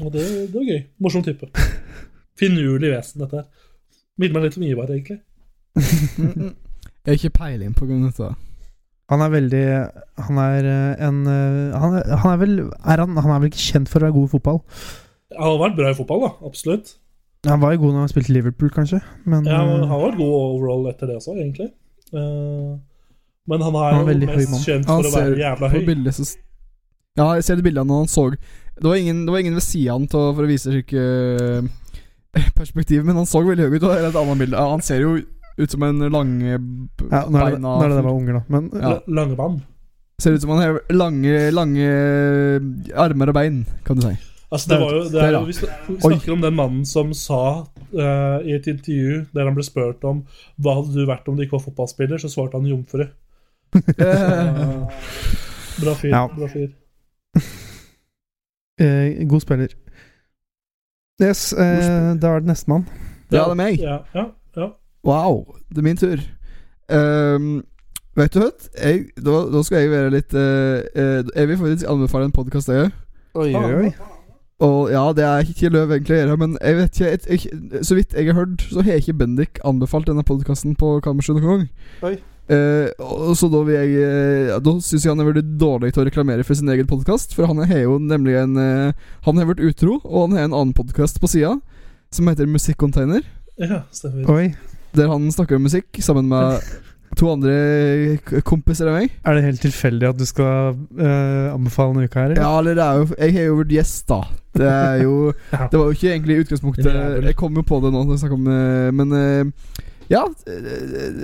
Og det, det var gøy. Morsom type. Finurlig vesen, dette her. Minner meg litt om Ivar, egentlig. mm, Jeg har ikke peiling på grunn av dette. Han er veldig Han er eh, en eh, han er, han er vel er han, han er vel ikke kjent for å være god i fotball. Han har vært bra i fotball, da. Absolutt. Han var jo god når han spilte i Liverpool, kanskje, men Ja, men eh, han var god overall etter det også, egentlig. Eh, men han er Han er jo veldig høy mest mann. kjent Han for å være ser jævla På høy. bildet så s- Ja, jeg ser det bildet av når han så Det var ingen, det var ingen ved sida av han til å- for å vise slike perspektiv, men han så veldig høy ut. Og det er et annet bilde. Ja, Han ser jo ut som en lange b- eh, ja, nå er det, beina nå er det det var unger, da. Men Ja. La- Langemann. Ser ut som han har lange, lange armer og bein, kan du si. Altså, det var jo, det Der, er, ja. jo- vi sn- vi snakker om den mannen som sa eh, i et intervju der han ble spurt om hva hadde du vært om du ikke var fotballspiller, så svarte han jomfru. Eh, Eh, bra fyr. Ja. bra fyr. Eh, god spiller. Yes, eh, da er det nestemann. Ja, det er meg. Ja, ja, ja. Wow, det er min tur. Ehm, vet du hva? Jeg, da, da skal jeg være litt eh, eh, Jeg vil faktisk anbefale en podkast, jeg. Oi, oi, oi. Og ja, det er ikke løv egentlig å gjøre, men jeg vet ikke jeg, jeg, Så vidt jeg har hørt, så har ikke Bendik anbefalt denne podkasten på kammerset noen gang. Oi. Eh, og så da vil jeg eh, ja, Da syns jeg han er veldig dårlig til å reklamere for sin egen podkast, for han har jo nemlig en eh, Han har vært utro, og han har en annen podkast på sida som heter Musikkcontainer, ja stemmer. Oi, der han snakker om musikk sammen med to andre k- kompiser av meg. Er det helt tilfeldig at du skal eh, anbefale en uke her? eller? Ja, eller det er jo Jeg har jo vært gjest, da. Det er jo Ja. Det var jo ikke egentlig i utgangspunktet Jævel. Jeg kom jo på det nå når jeg snakket om det, Men eh, ja eh,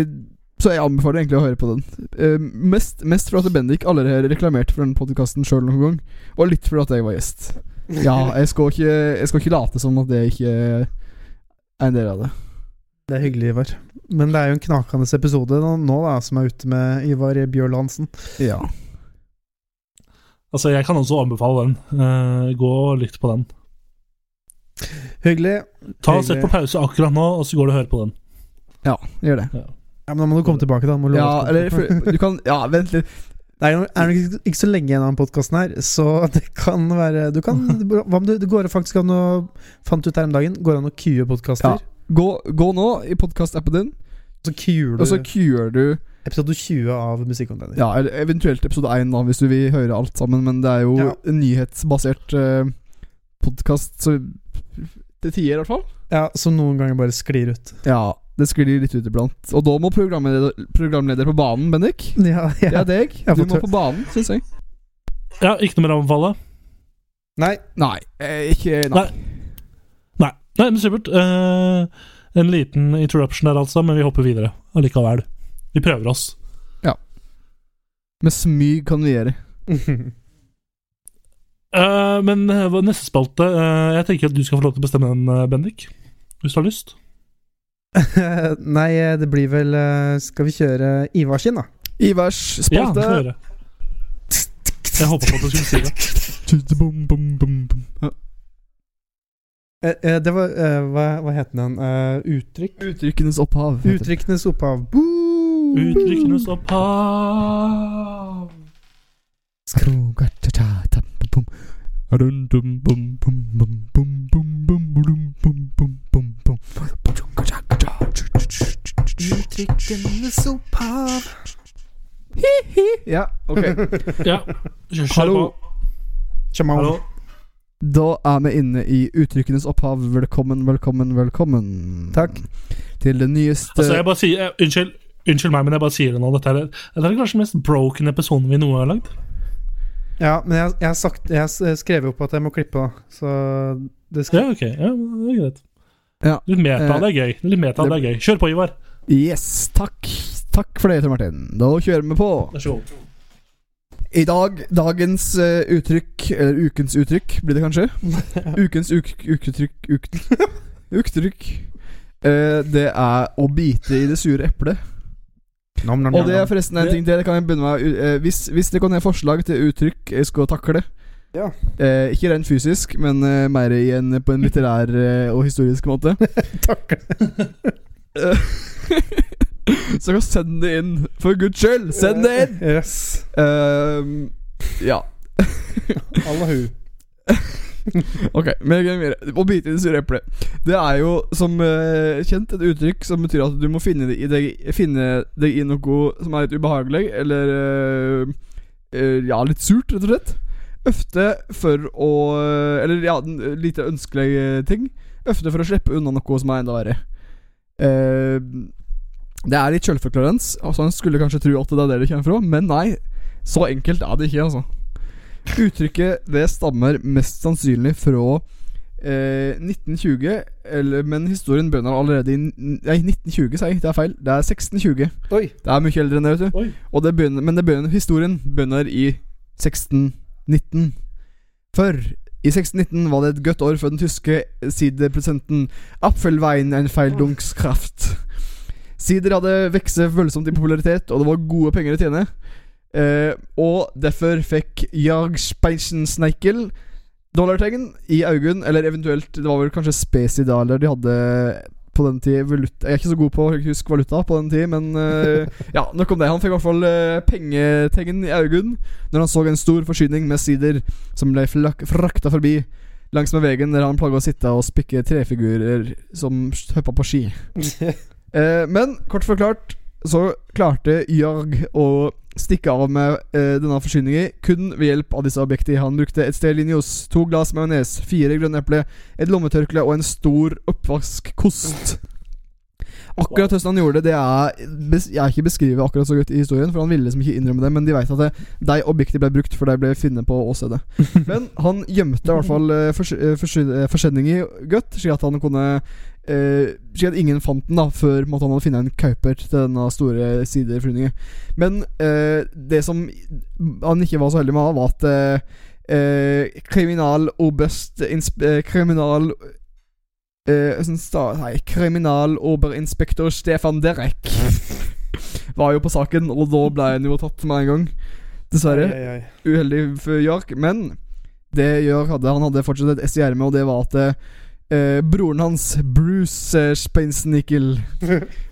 eh, Så jeg anbefaler egentlig å høre på den Eh, Mest, mest for at Bendik allerede har reklamert for den podcasten selv noen gang Og litt for at jeg var gjest Ja, jeg skal ikke, jeg skal ikke late som at det ikke er en del av det Det er hyggelig, Ivar. Men det er jo en knakende episode nå, nå da, som er ute med Ivar Bjørl Hansen. Ja Altså, jeg kan også anbefale den. Eh, gå og lytt på den. Hyggelig. Ta og Sett på pause akkurat nå, og så går du og hører på den. Ja, gjør det Ja, men Da må du komme tilbake, da. Må love Ja, at du kommer eller for, du kan Ja, vent litt Det er jo er det ikke, ikke så lenge igjen av den podkasten her, så det kan være Du kan Hva om du, det går faktisk an å Fant ut her om dagen, går det an å kue podkaster? Gå, gå nå i podcast-appen din Så kuer du Og så queuer du episode 20 av Musikkontainer. Ja, eller eventuelt episode 1 da, hvis du vil høre alt sammen, men det er jo Ja. en nyhetsbasert uh, podkast, så til tider i hvert fall. Ja, som noen ganger bare sklir ut. Ja, det sklir litt ut iblant. Og da må programleder, programleder på banen, Bendik. Ja, ja. Det er deg. Jeg har Du fått må høre- på banen, syns jeg. Ja, ikke noe mer å anbefale? Nei, Nei, eh, ikke Nei. Nei. Nei, men supert. Eh, en liten interruption der, altså, men vi hopper videre allikevel. Vi prøver oss. Med smyg kan vi gjøre. Eh, Eh, men eh, vår neste spalte eh, Jeg tenker at du skal få lov til å bestemme den, eh, Bendik. Hvis du har lyst. Nei, eh, det blir vel eh, Skal vi kjøre Ivar sin, da? Ivers Ja, få spalte. høre. Jeg håpet på at du skulle si det. Bum, bum, bum, bum. Ja. Eh, eh, det var eh, hva, hva het den? Eh, uttrykk? Uttrykkenes opphav. heter det. Uttrykkenes opphav. Boo! Uttrykkenes opphav. Uttrykkenes opphav. Hi-hi. Ja, ok. Ja, kjør kjør Hallo. på. Shamao. Hallo. Da er vi inne i Uttrykkenes opphav. Velkommen, velkommen, velkommen. Takk. Til det nyeste Altså, jeg bare sier eh, Unnskyld. Unnskyld meg, men jeg bare sier det nå. Dette er, dette er kanskje den mest broken episoden vi noen gang har lagd. Ja, men jeg, jeg, har sagt, jeg har s- skrevet opp at jeg må klippe, da. Så det skal Ja, ok. Ja, det er greit. Ja. Litt meta, det er gøy. Litt meta, det er gøy. Kjør på, Ivar. Yes, takk. Takk for det, Tor Martin. Da kjører vi på. Vær så god. I dag, dagens eh, uttrykk, eller ukens uttrykk, blir det kanskje? Ukens uk uketrykk uk Uktrykk. Eh, det er å bite i det sure eplet. Nam, nam, Og nam, det er nam. forresten en ting til. Det kan jeg begynne med eh, Hvis, hvis det kan være forslag til uttrykk jeg skal takle Ja. eh, Ikke rent fysisk, men eh, mer i en, på en litterær eh, og historisk måte. Takk. Eh, Så kan send det inn. For guds skyld, send det inn! Yes. Eh, ja. Allahu. Ok, med en gang videre. Å bite i det sure eplet. Det er jo som eh, kjent et uttrykk som betyr at du må finne deg i, deg, finne deg i noe som er litt ubehagelig, eller eh, eh, Ja, litt surt, rett og slett. Ofte for å eh, Eller ja, en lite ønskelige ting. Ofte for å slippe unna noe som er enda verre. Eh, det er litt sjølforklarens. Altså, en skulle kanskje tro at det er der det kommer fra, men nei. Så enkelt er det ikke, altså. Uttrykket det stammer mest sannsynlig fra eh, 1920, eller, men historien begynner allerede i n- Nei, 1920, sier jeg. Det er feil. Det er 1620. Oi. Det er mye eldre enn det, vet du. Oi. Og det begynner, men det begynner, historien begynner i 1619. For i 1619 var det et godt år for den tyske siderprodusenten Apfelwein en feildungskraft. Sider hadde vokst voldsomt i popularitet, og det var gode penger å tjene. Eh, og derfor fikk Jarg Speichensneikel dollartegn i øynene, eller eventuelt Det var vel kanskje spesidaler de hadde på den tid. Valuta. Jeg er ikke så god på å huske valuta på den tid, men eh, ja, nok om det. Han fikk i hvert fall eh, pengetegn i øynene når han så en stor forsyning med sider som ble flak frakta forbi langsmed veien der han plaga å sitte og spikke trefigurer som hoppa på ski. Eh, men kort forklart så klarte Jarg å stikke av med eh, denne forsyningen kun ved hjelp av disse objektene. Han brukte et sted linjos, to glass majones, fire grønne epler, et lommetørkle og en stor oppvaskkost. Akkurat hvordan han gjorde det, det er bes- Jeg er ikke beskrevet akkurat så godt i historien, for han ville liksom ikke innrømme det, men de veit at det, de objektene ble brukt, for de ble funnet på åstedet. Men han gjemte i hvert fall eh, fors eh, forsy- eh, forsendingen godt, slik at han kunne eh, Slik at ingen fant den, da, før på en måte, han hadde funnet en kauper til denne store siderflyvningen. Men eh, det som han ikke var så heldig med, var at eh, eh, kriminal oberst insp eh, Kriminal Eh, sånn sta, nei, kriminaloberinspektør Stefan Derek var jo på saken, og da ble han jo tatt med en gang. Dessverre Ai, ai, ai. uheldig for Jark, men det Jark hadde, han hadde fortsatt et ess i ermet, og det var at eh, broren hans, Bruce eh, Speinsnickel,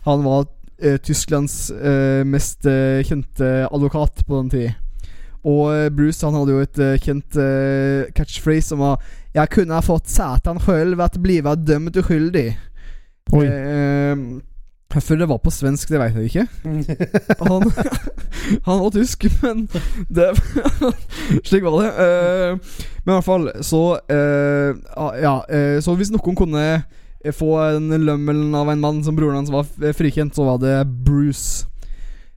han var eh, Tysklands eh, mest eh, kjente advokat på den tid. Og eh, Bruce han hadde jo et eh, kjent eh, catchphrase som var 'Jeg kunne ha fått satan sjøl vært bliva dømt uskyldig'. Oi. Eh, Hvorfor det var på svensk, det veit jeg ikke. Han, han var tysk, men det, Slik var det. Eh, men i hvert fall, så eh, ah, Ja, eh, så hvis noen kunne eh, få en lømmel av en mann som broren hans var f- eh, frikjent, så var det Bruce.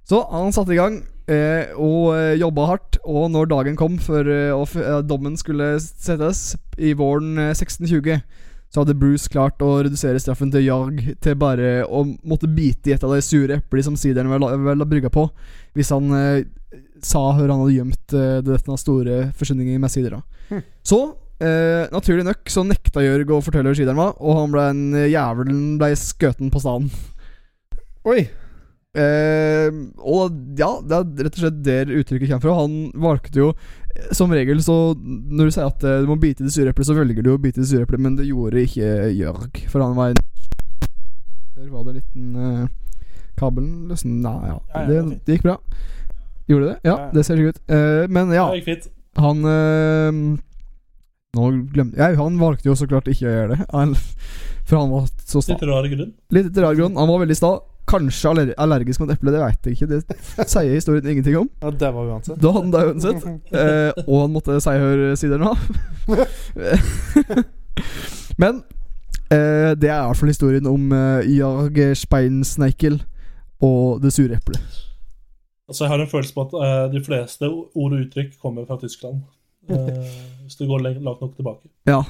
Så han satte i gang. eh, og eh, jobba hardt, og når dagen kom for eh, å f- eh, dommen skulle settes, i våren eh, 1620, så hadde Bruce klart å redusere straffen til jag til bare å måtte bite i et av de sure eplene som sideren vel, vel har brygga på, hvis han eh, sa hvor han hadde gjemt eh, denne store forsvinningen med sider. da. Hm. Så, eh, naturlig nok, så nekta Jørg å fortelle hvor sideren var, og han ble en eh, jævelen ble skøten på staden. Oi! Eh, og ja, det er rett og slett der uttrykket kommer fra. Han valgte jo eh, Som regel så Når du sier at eh, du må bite i det sure eplet, så velger du å bite i det sure eplet, men det gjorde ikke Jørg. For han var en Der var det en liten eh, Kabelen løsnet Nei, Ja, ja. ja, det, det var fint. det gikk bra. Gjorde det det? Ja, Ja, ja. det ser slik ut. Eh, men ja, Det gikk fint. han eh, Nå glemte jeg Han valgte jo så klart ikke å gjøre det. Han, for han var så sta. Litt rar grunn. Litt etter rar grunn. Han var veldig sta. Kanskje aller allergisk mot eple, det veit jeg ikke. Det sier historien ingenting om. Ja, det var uansett. Da hadde han det uansett. Eh, og han måtte si hør sideren av. Men eh, det er i hvert fall historien om eh, Jag Speinsneikel og det sure eplet. Altså, jeg har en følelse på at eh, de fleste ord og uttrykk kommer fra Tyskland. Eh, hvis du går le- langt nok tilbake. Ja.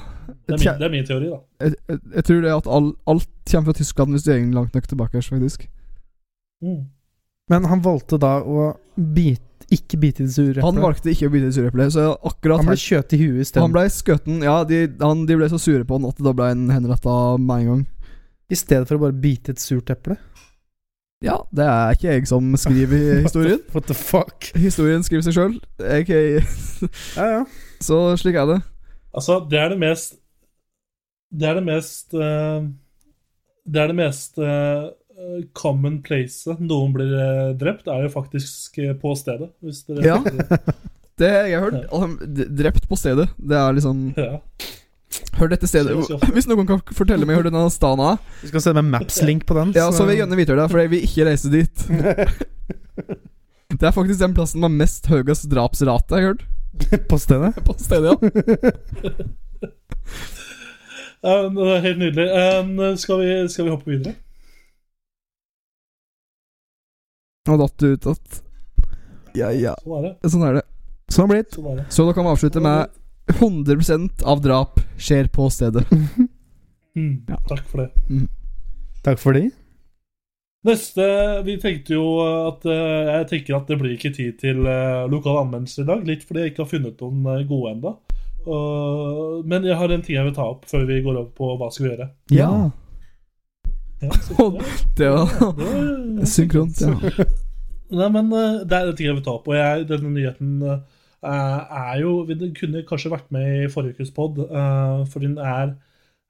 Det er, Jeg, min, det er min teori, da. jeg, jeg, jeg tror det at all, alt kommer fra Tyskland hvis du er langt nok tilbake, faktisk. Mm. Men han valgte da å bite, ikke bite i det sure Han eplet. valgte ikke å bite i det sure eplet, så akkurat Han ble her kjøtt i huet han isteden. ble skutten Ja, de, han, de ble så sure på han at da ble han henretta med en gang. I stedet for å bare bite et surt eple. Ja, det er ikke jeg som skriver historien. What the fuck? Historien skriver seg sjøl. Ja, ja. Så slik er det. Altså, det er det mest Det er det mest eh, Det er det mest eh, commonplace noen blir eh, drept, er jo faktisk eh, på stedet. Hvis dere Ja. Det jeg har hørt. Al- d- Drept på stedet. Det er liksom Ja. Hør dette stedet. Hvis noen kan fortelle meg hvor denne staden er, Vi skal sende en Maps-link på den. ja, så vil jeg gjerne vite det, for jeg vil ikke reise dit. Det er faktisk den plassen med mest høyest drapsrate jeg har hørt. på stedet. På stedet, ja. Ja, men det er helt nydelig. Eh, skal, vi, skal vi hoppe videre? Nå datt du ut at Ja, ja. Sånn er det. Sånn Sånn har det er det. blitt. Sånn er det. Så da kan vi avslutte med 100 av drap skjer på stedet. Mm, Ja. Takk for det. Takk for de. Neste Vi tenkte jo at eh, Jeg tenker at det blir ikke tid til eh, lokal anmeldelse i dag. Litt fordi jeg ikke har funnet noen eh, gode ennå. men jeg har en ting jeg vil ta opp før vi går over på hva skal vi gjøre. Ja. Ja, så, Det var det var- synkront, ja. Nei, men eh, det er en ting jeg vil ta opp. Og jeg, denne nyheten eh, er jo Den kunne kanskje vært med i forrige ukes pod, eh, for den er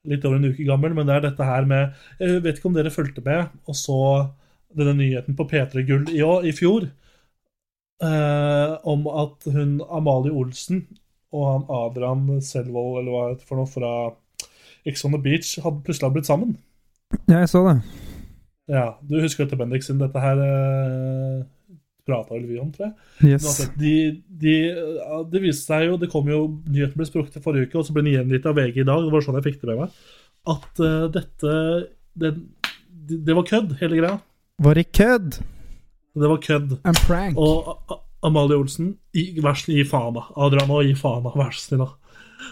litt over en uke gammel. Men det er dette her med Jeg vet ikke om dere fulgte med og så denne nyheten på P3 Gull i, år- i fjor eh, om at hun Amalie Olsen og han Adrian Selvold, eller hva det heter for noe, fra Ex on the Beach, hadde plutselig blitt sammen. Ja, jeg så det. Ja, Du husker dette, Bendik, siden dette her eh, prata vel vi om, tror jeg. Yes. Uansett, de, de, ja, det viste seg jo, det kom jo, nyheten ble sprukket i forrige uke, og så ble den gjengitt av VG i dag, det var sånn jeg fikk det med meg, at eh, dette, det, det, det var kødd, hele greia. Var det kødd? Det var kødd. En prank. Og A- A- Amalie Olsen, i, vær så snill, gi faen da. Adrian, nå gi faen da, vær så snill da.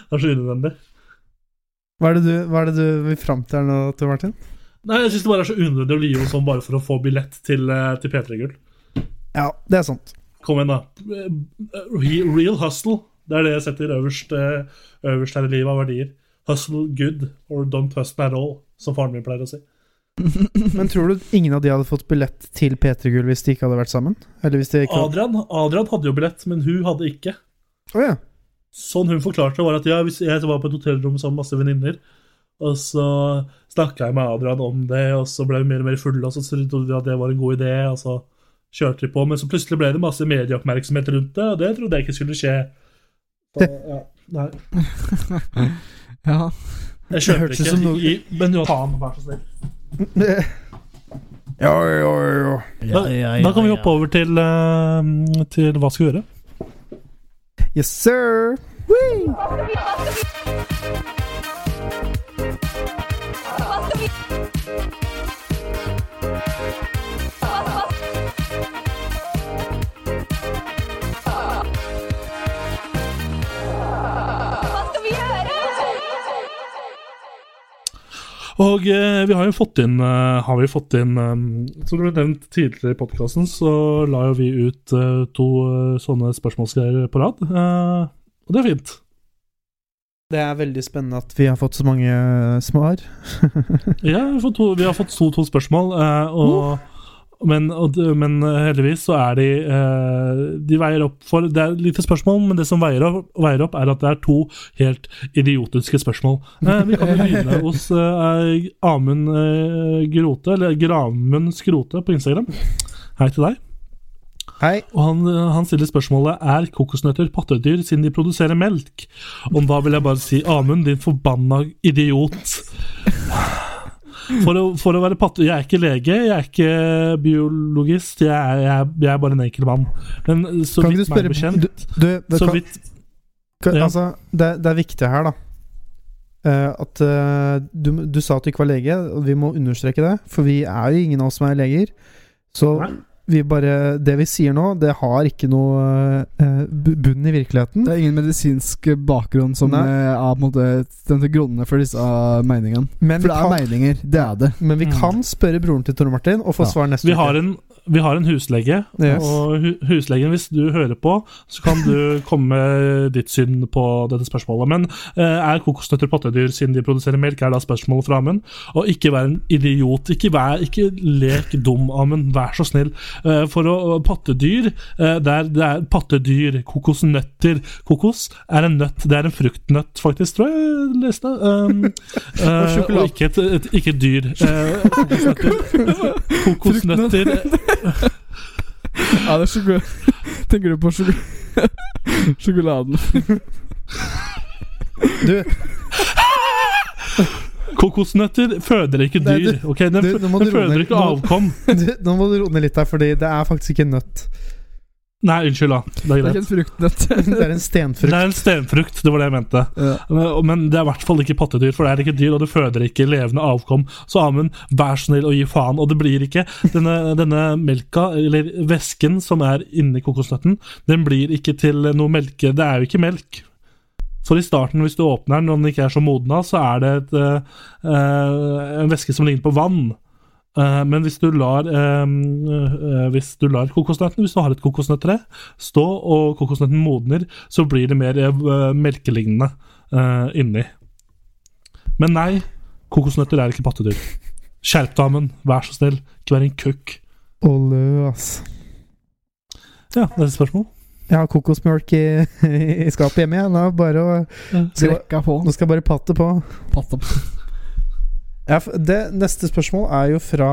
Det er så unødvendig. Hva er det du, hva er det du vil fram til her nå, Tor Martin? Nei, jeg synes det bare er så unødvendig å lyve sånn bare for å få billett til, eh, til P3-gull. Ja, det er sant. Kom igjen, da. Re- Real hustle. Det er det jeg setter øverst, eh, øverst her i livet av verdier. Hustle good or don't hustle at all, som faren min pleier å si. Men tror du ingen av de hadde fått billett til P3 Gull hvis de ikke hadde vært sammen? Eller hvis de ikke hadde... Adrian, Adrian hadde jo billett, men hun hadde ikke. Å ja. Sånn hun forklarte det, var at ja, hvis jeg var på et hotellrom sammen med masse venninner, og så snakka jeg med Adrian om det, og så ble vi mer og mer fulle, og så trodde vi at det var en god idé, og så kjørte vi på. Men så plutselig ble det masse medieoppmerksomhet rundt det, og det trodde jeg ikke skulle skje. Så, ja, nei. Ja. Jeg Det kjøper hørtes ikke. ut som noe- I, men jo, faen, vær så snill. Ja, ja, ja. Da, da kan vi hoppe over til, eh, til hva skal vi gjøre. Yes, sir. Hva skal vi gjøre? Og eh, vi har jo fått inn eh, Har vi fått inn eh, Som det ble nevnt tidligere i podkasten, så la jo vi ut eh, to eh, sånne spørsmålsgreier på rad. Eh, og det er fint. Det er veldig spennende at vi har fått så mange eh, svar. Ja, vi har fått to, vi har fått to, to spørsmål, eh, og, men, og, d- men eh, heldigvis så er de eh, De veier opp for Det er lite spørsmål, men det som veier opp, veier opp er at det er to helt idiotiske spørsmål. Eh, vi kan jo begynne hos eh, Amund eh, Grote, eller Gramund Skrote på Instagram. Hei til deg. Hei. Og han, eh, han stiller spørsmålet Er kokosnøtter pattedyr siden de produserer melk. Og da vil jeg bare si Amund, din forbanna idiot. For å, for å være patte... Jeg er ikke lege, jeg er ikke biologist. Jeg er, jeg er, jeg er bare en enkel mann. Men eh, så vidt Kan ikke du meg spørre- bekjent Du, det, Så kan, vidt kan, ja. altså, det, det er viktig her, da. Eh, at eh, du, du sa at du ikke var lege, og vi må understreke det. For vi er jo ingen av oss som er leger. Så Nei. vi bare Det vi sier nå, det har ikke noe eh, bu- bunn i virkeligheten. Det er ingen medisinsk bakgrunn som Nei. eh, er på en måte den til grunnene for disse meningene. Men For vi, det er kan, meninger, det er det. men vi Mm. kan spørre broren til Tore Martin og få Ja. svar neste Vi har en, vi har en huslege, Yes. og hu huslegen, hvis du hører på, så kan du komme med ditt syn på dette spørsmålet. Men eh, er kokosnøtter pattedyr siden de produserer melk, er da spørsmålet fra Amund. Og ikke vær en idiot. Ikke, vær, ikke lek dum, Amund. Vær så snill. Eh, for å pattedyr eh, det, er, det er pattedyr. Kokosnøtter. Kokos er en nøtt. Det er en fruktnøtt, faktisk, tror jeg jeg leste. Um, eh, og sjokolade. ikke et, et, ikke et dyr. Eh, kokosnøtter. kokosnøtter Ja, det er sjokol- Tenker du på sjokol sjokoladen? Du, Kokosnøtter føder ikke Nei, du- dyr. ok? Den, du- fø- nå må den du roe føder ned. ikke Nå- avkom. du, nå må du roe ned litt der, Fordi det er faktisk ikke en nøtt. Nei, unnskyld, da. Det er Det er greit. ikke en fruktnøtt. Det er en Det stenfrukt. er en stenfrukt, det var det jeg mente. Ja. Men- Men det er i hvert fall ikke pattedyr, for det er ikke dyr, og det føder ikke levende avkom. Så Amund, vær så snill å gi faen. Og det blir ikke denne, denne melka, eller væsken som er inni kokosnøtten, den blir ikke til noe melke. Det er jo ikke melk. For i starten, hvis du åpner den og den ikke er så moden av, så er det et, eh, eh, en væske som ligner på vann. Eh, men hvis du lar eh, eh, Hvis du lar kokosnøtten Hvis du har et kokosnøttre stå, og kokosnøtten modner, så blir det mer eh, melkelignende eh, inni. Men nei, kokosnøtter er ikke pattedyr. Skjerp deg, Amund. Vær så snill. Ikke vær en kukk. Olø, ass. Ja, det er et spørsmål. Jeg har kokosmjølk i, i skapet hjemme igjen. Nå, er det bare å, Skrekka på. nå skal jeg bare patte på. Patta på. Ja, f- det neste spørsmål er jo fra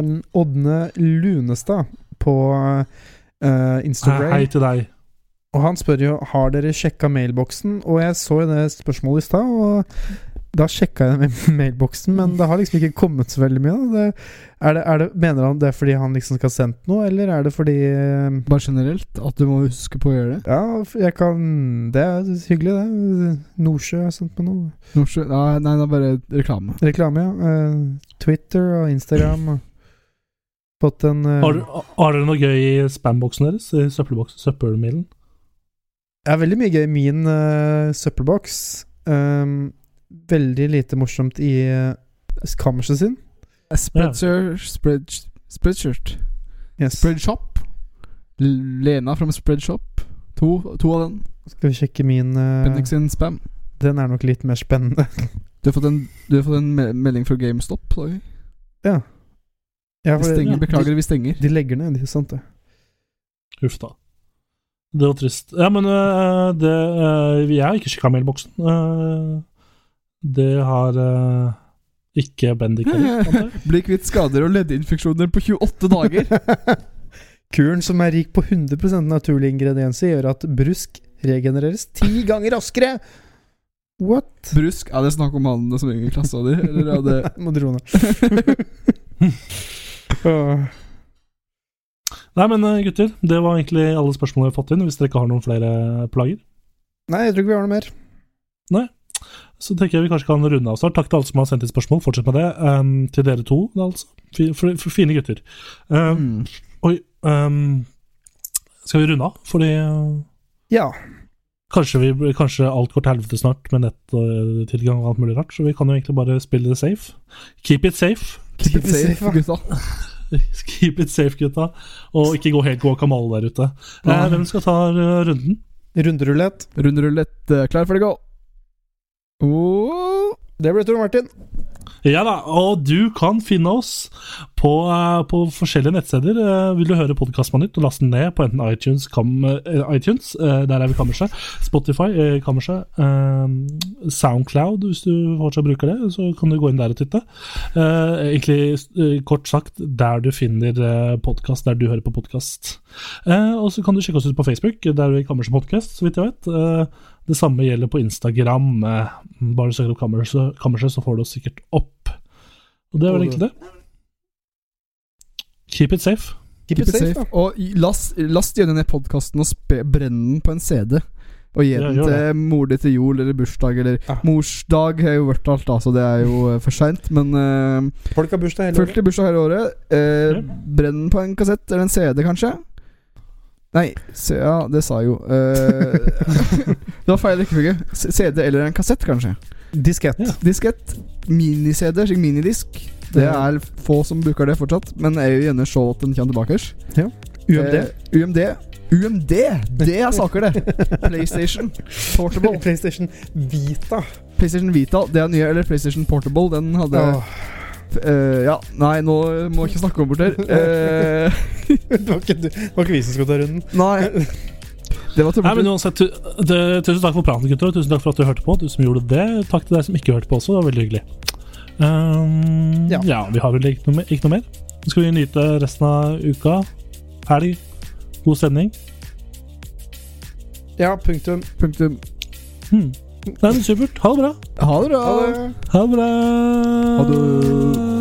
em, Ådne Lunestad på eh, Hei, Instagram. Ah, hei til deg. Og han spør jo har dere sjekka mailboksen. Og jeg så jo det spørsmålet i stad, og da sjekka jeg med mailboksen, men det har liksom ikke kommet så veldig mye. Da. Det, er det, er det, mener han det er fordi han liksom skal ha sendt noe, eller er det fordi em, Bare generelt, at du må huske på å gjøre det. ja, jeg kan Det er hyggelig, det. Nordsjø har sendt meg noe. Norsk, nei, nei, det er bare reklame. Reklame, ja. Eh, Twitter og Instagram. Og fått en eh, Har, har dere noe gøy i spamboksen deres? I søppelboksen? Søppelmilen? Det er veldig mye gøy i min eh, søppelboks. Um, veldig lite morsomt i uh, kammerset sin. Spreadshirt spread, Spreadshirt. Yes. Spreadshop. L- Lena fra Spreadshop. To, to av den. Skal vi sjekke min eh, Bendik sin spam. Den er nok litt mer spennende. Du har fått en, du har fått en me- melding fra GameStop. Da. Ja, Vi for- stenger, beklager, vi De, stenger. de legger ned, det er sant det. Huff da. Det var trist. Ja, men øh, det øh, Jeg har ikke sjekka mailboksen. Øh, det har øh, ikke Bendik heller. antar jeg. Bli kvitt skader og leddinfeksjoner på 28 dager. Kuren som er rik på 100 naturlige ingredienser, gjør at brusk regenereres ti ganger raskere! What? Brusk. Er det snakk om han som gikk i klassa di? Eller er det Må du roe ned. Åh. Nei, men øh, gutter, det var egentlig alle spørsmålene vi har fått inn. Hvis dere ikke har noen flere eh, plager, Nei, jeg tror ikke vi har noe mer. så tenker jeg vi kanskje kan runde av snart. Takk til alle som har sendt inn spørsmål. Fortsett med det. Ehm, til dere to, da, altså. Fi- f- f- Fine gutter. um, Ehm, mm. Oi. ehm, skal vi runde av? Fordi øh, Ja. Kanskje, vi, kanskje alt går til helvete snart med nettilgang og alt mulig rart, så vi kan jo egentlig bare spille det safe. Keep it safe. Keep it safe, gutta. Keep it safe, gutta. Og ikke gå helt guacamole der ute. Eh, Ja. hvem skal ta eh, runden? Runderulett. Rundrulett, eh, klar for det, gå! Oh, Det ble Tor Martin. Ja da, og du kan finne oss på, eh, på forskjellige nettsteder. Eh, Vil du høre podkasten på nytt, og laste den ned på enten iTunes, kam, eh, iTunes eh, der er vi Kammerset, Spotify, eh, Kammerset, eh, Soundcloud, hvis du fortsatt bruker det, så kan du gå inn der og titte. Eh, Egentlig, eh, kort sagt, der du finner podkast, der du hører på podkast. Og så kan du sjekke oss ut på Facebook, der er vi Kammerset Podcast, så vidt jeg vet. Eh, det samme gjelder på Instagram. Eh, Bare søker opp kammerset, kammerset, så får du oss sikkert opp. Og det er vel egentlig det. Keep it safe. Keep, keep it safe. Og i- last, last gjerne ned podkasten og spe, brenn den på en CD. Og gi Ja, den gjør til mor di til jul eller bursdag eller Ja. Morsdag har jo vært alt, da, så det er jo eh, for seint. Men eh, da. Folk har bursdag hele året. 40 bursdag hele året. Eh, Brenn den på en kassett eller en CD, kanskje? Nei, se, ja, det sa jeg jo. Eh, det var feil rekkefølge. C- CD eller en kassett, kanskje. Diskett. Ja. Diskett. Mini-CD, slik minidisk. Det er få som bruker det fortsatt, men jeg vil gjerne se at den kommer tilbake. UMD. Eh, UMD. UMD! Det er saker, det! PlayStation Portable. Eh, PlayStation Vita. PlayStation Vita, det er nye. Eller PlayStation Portable, den hadde Åh, eh, Ja, nei, nå må jeg ikke snakke om bort her. Eh, det, var ikke, du- det var ikke vi som skulle ta runden. Nei. Det var Nei, men tullete. uansett, tu- det- Tusen takk for praten, gutter. og Tusen takk for at du hørte på. Du som gjorde det. Takk til deg som ikke hørte på også. Det var veldig hyggelig. Ehm, ja. Ja. vi har vel ikke noe, mer- ikke noe mer. Nå skal vi nyte resten av uka. Helg. God stemning. Ja, punktum. Punktum. Hmm. Nei, men supert. Ha det bra. Ha det, da. Ha det. Ha det bra. Ha det.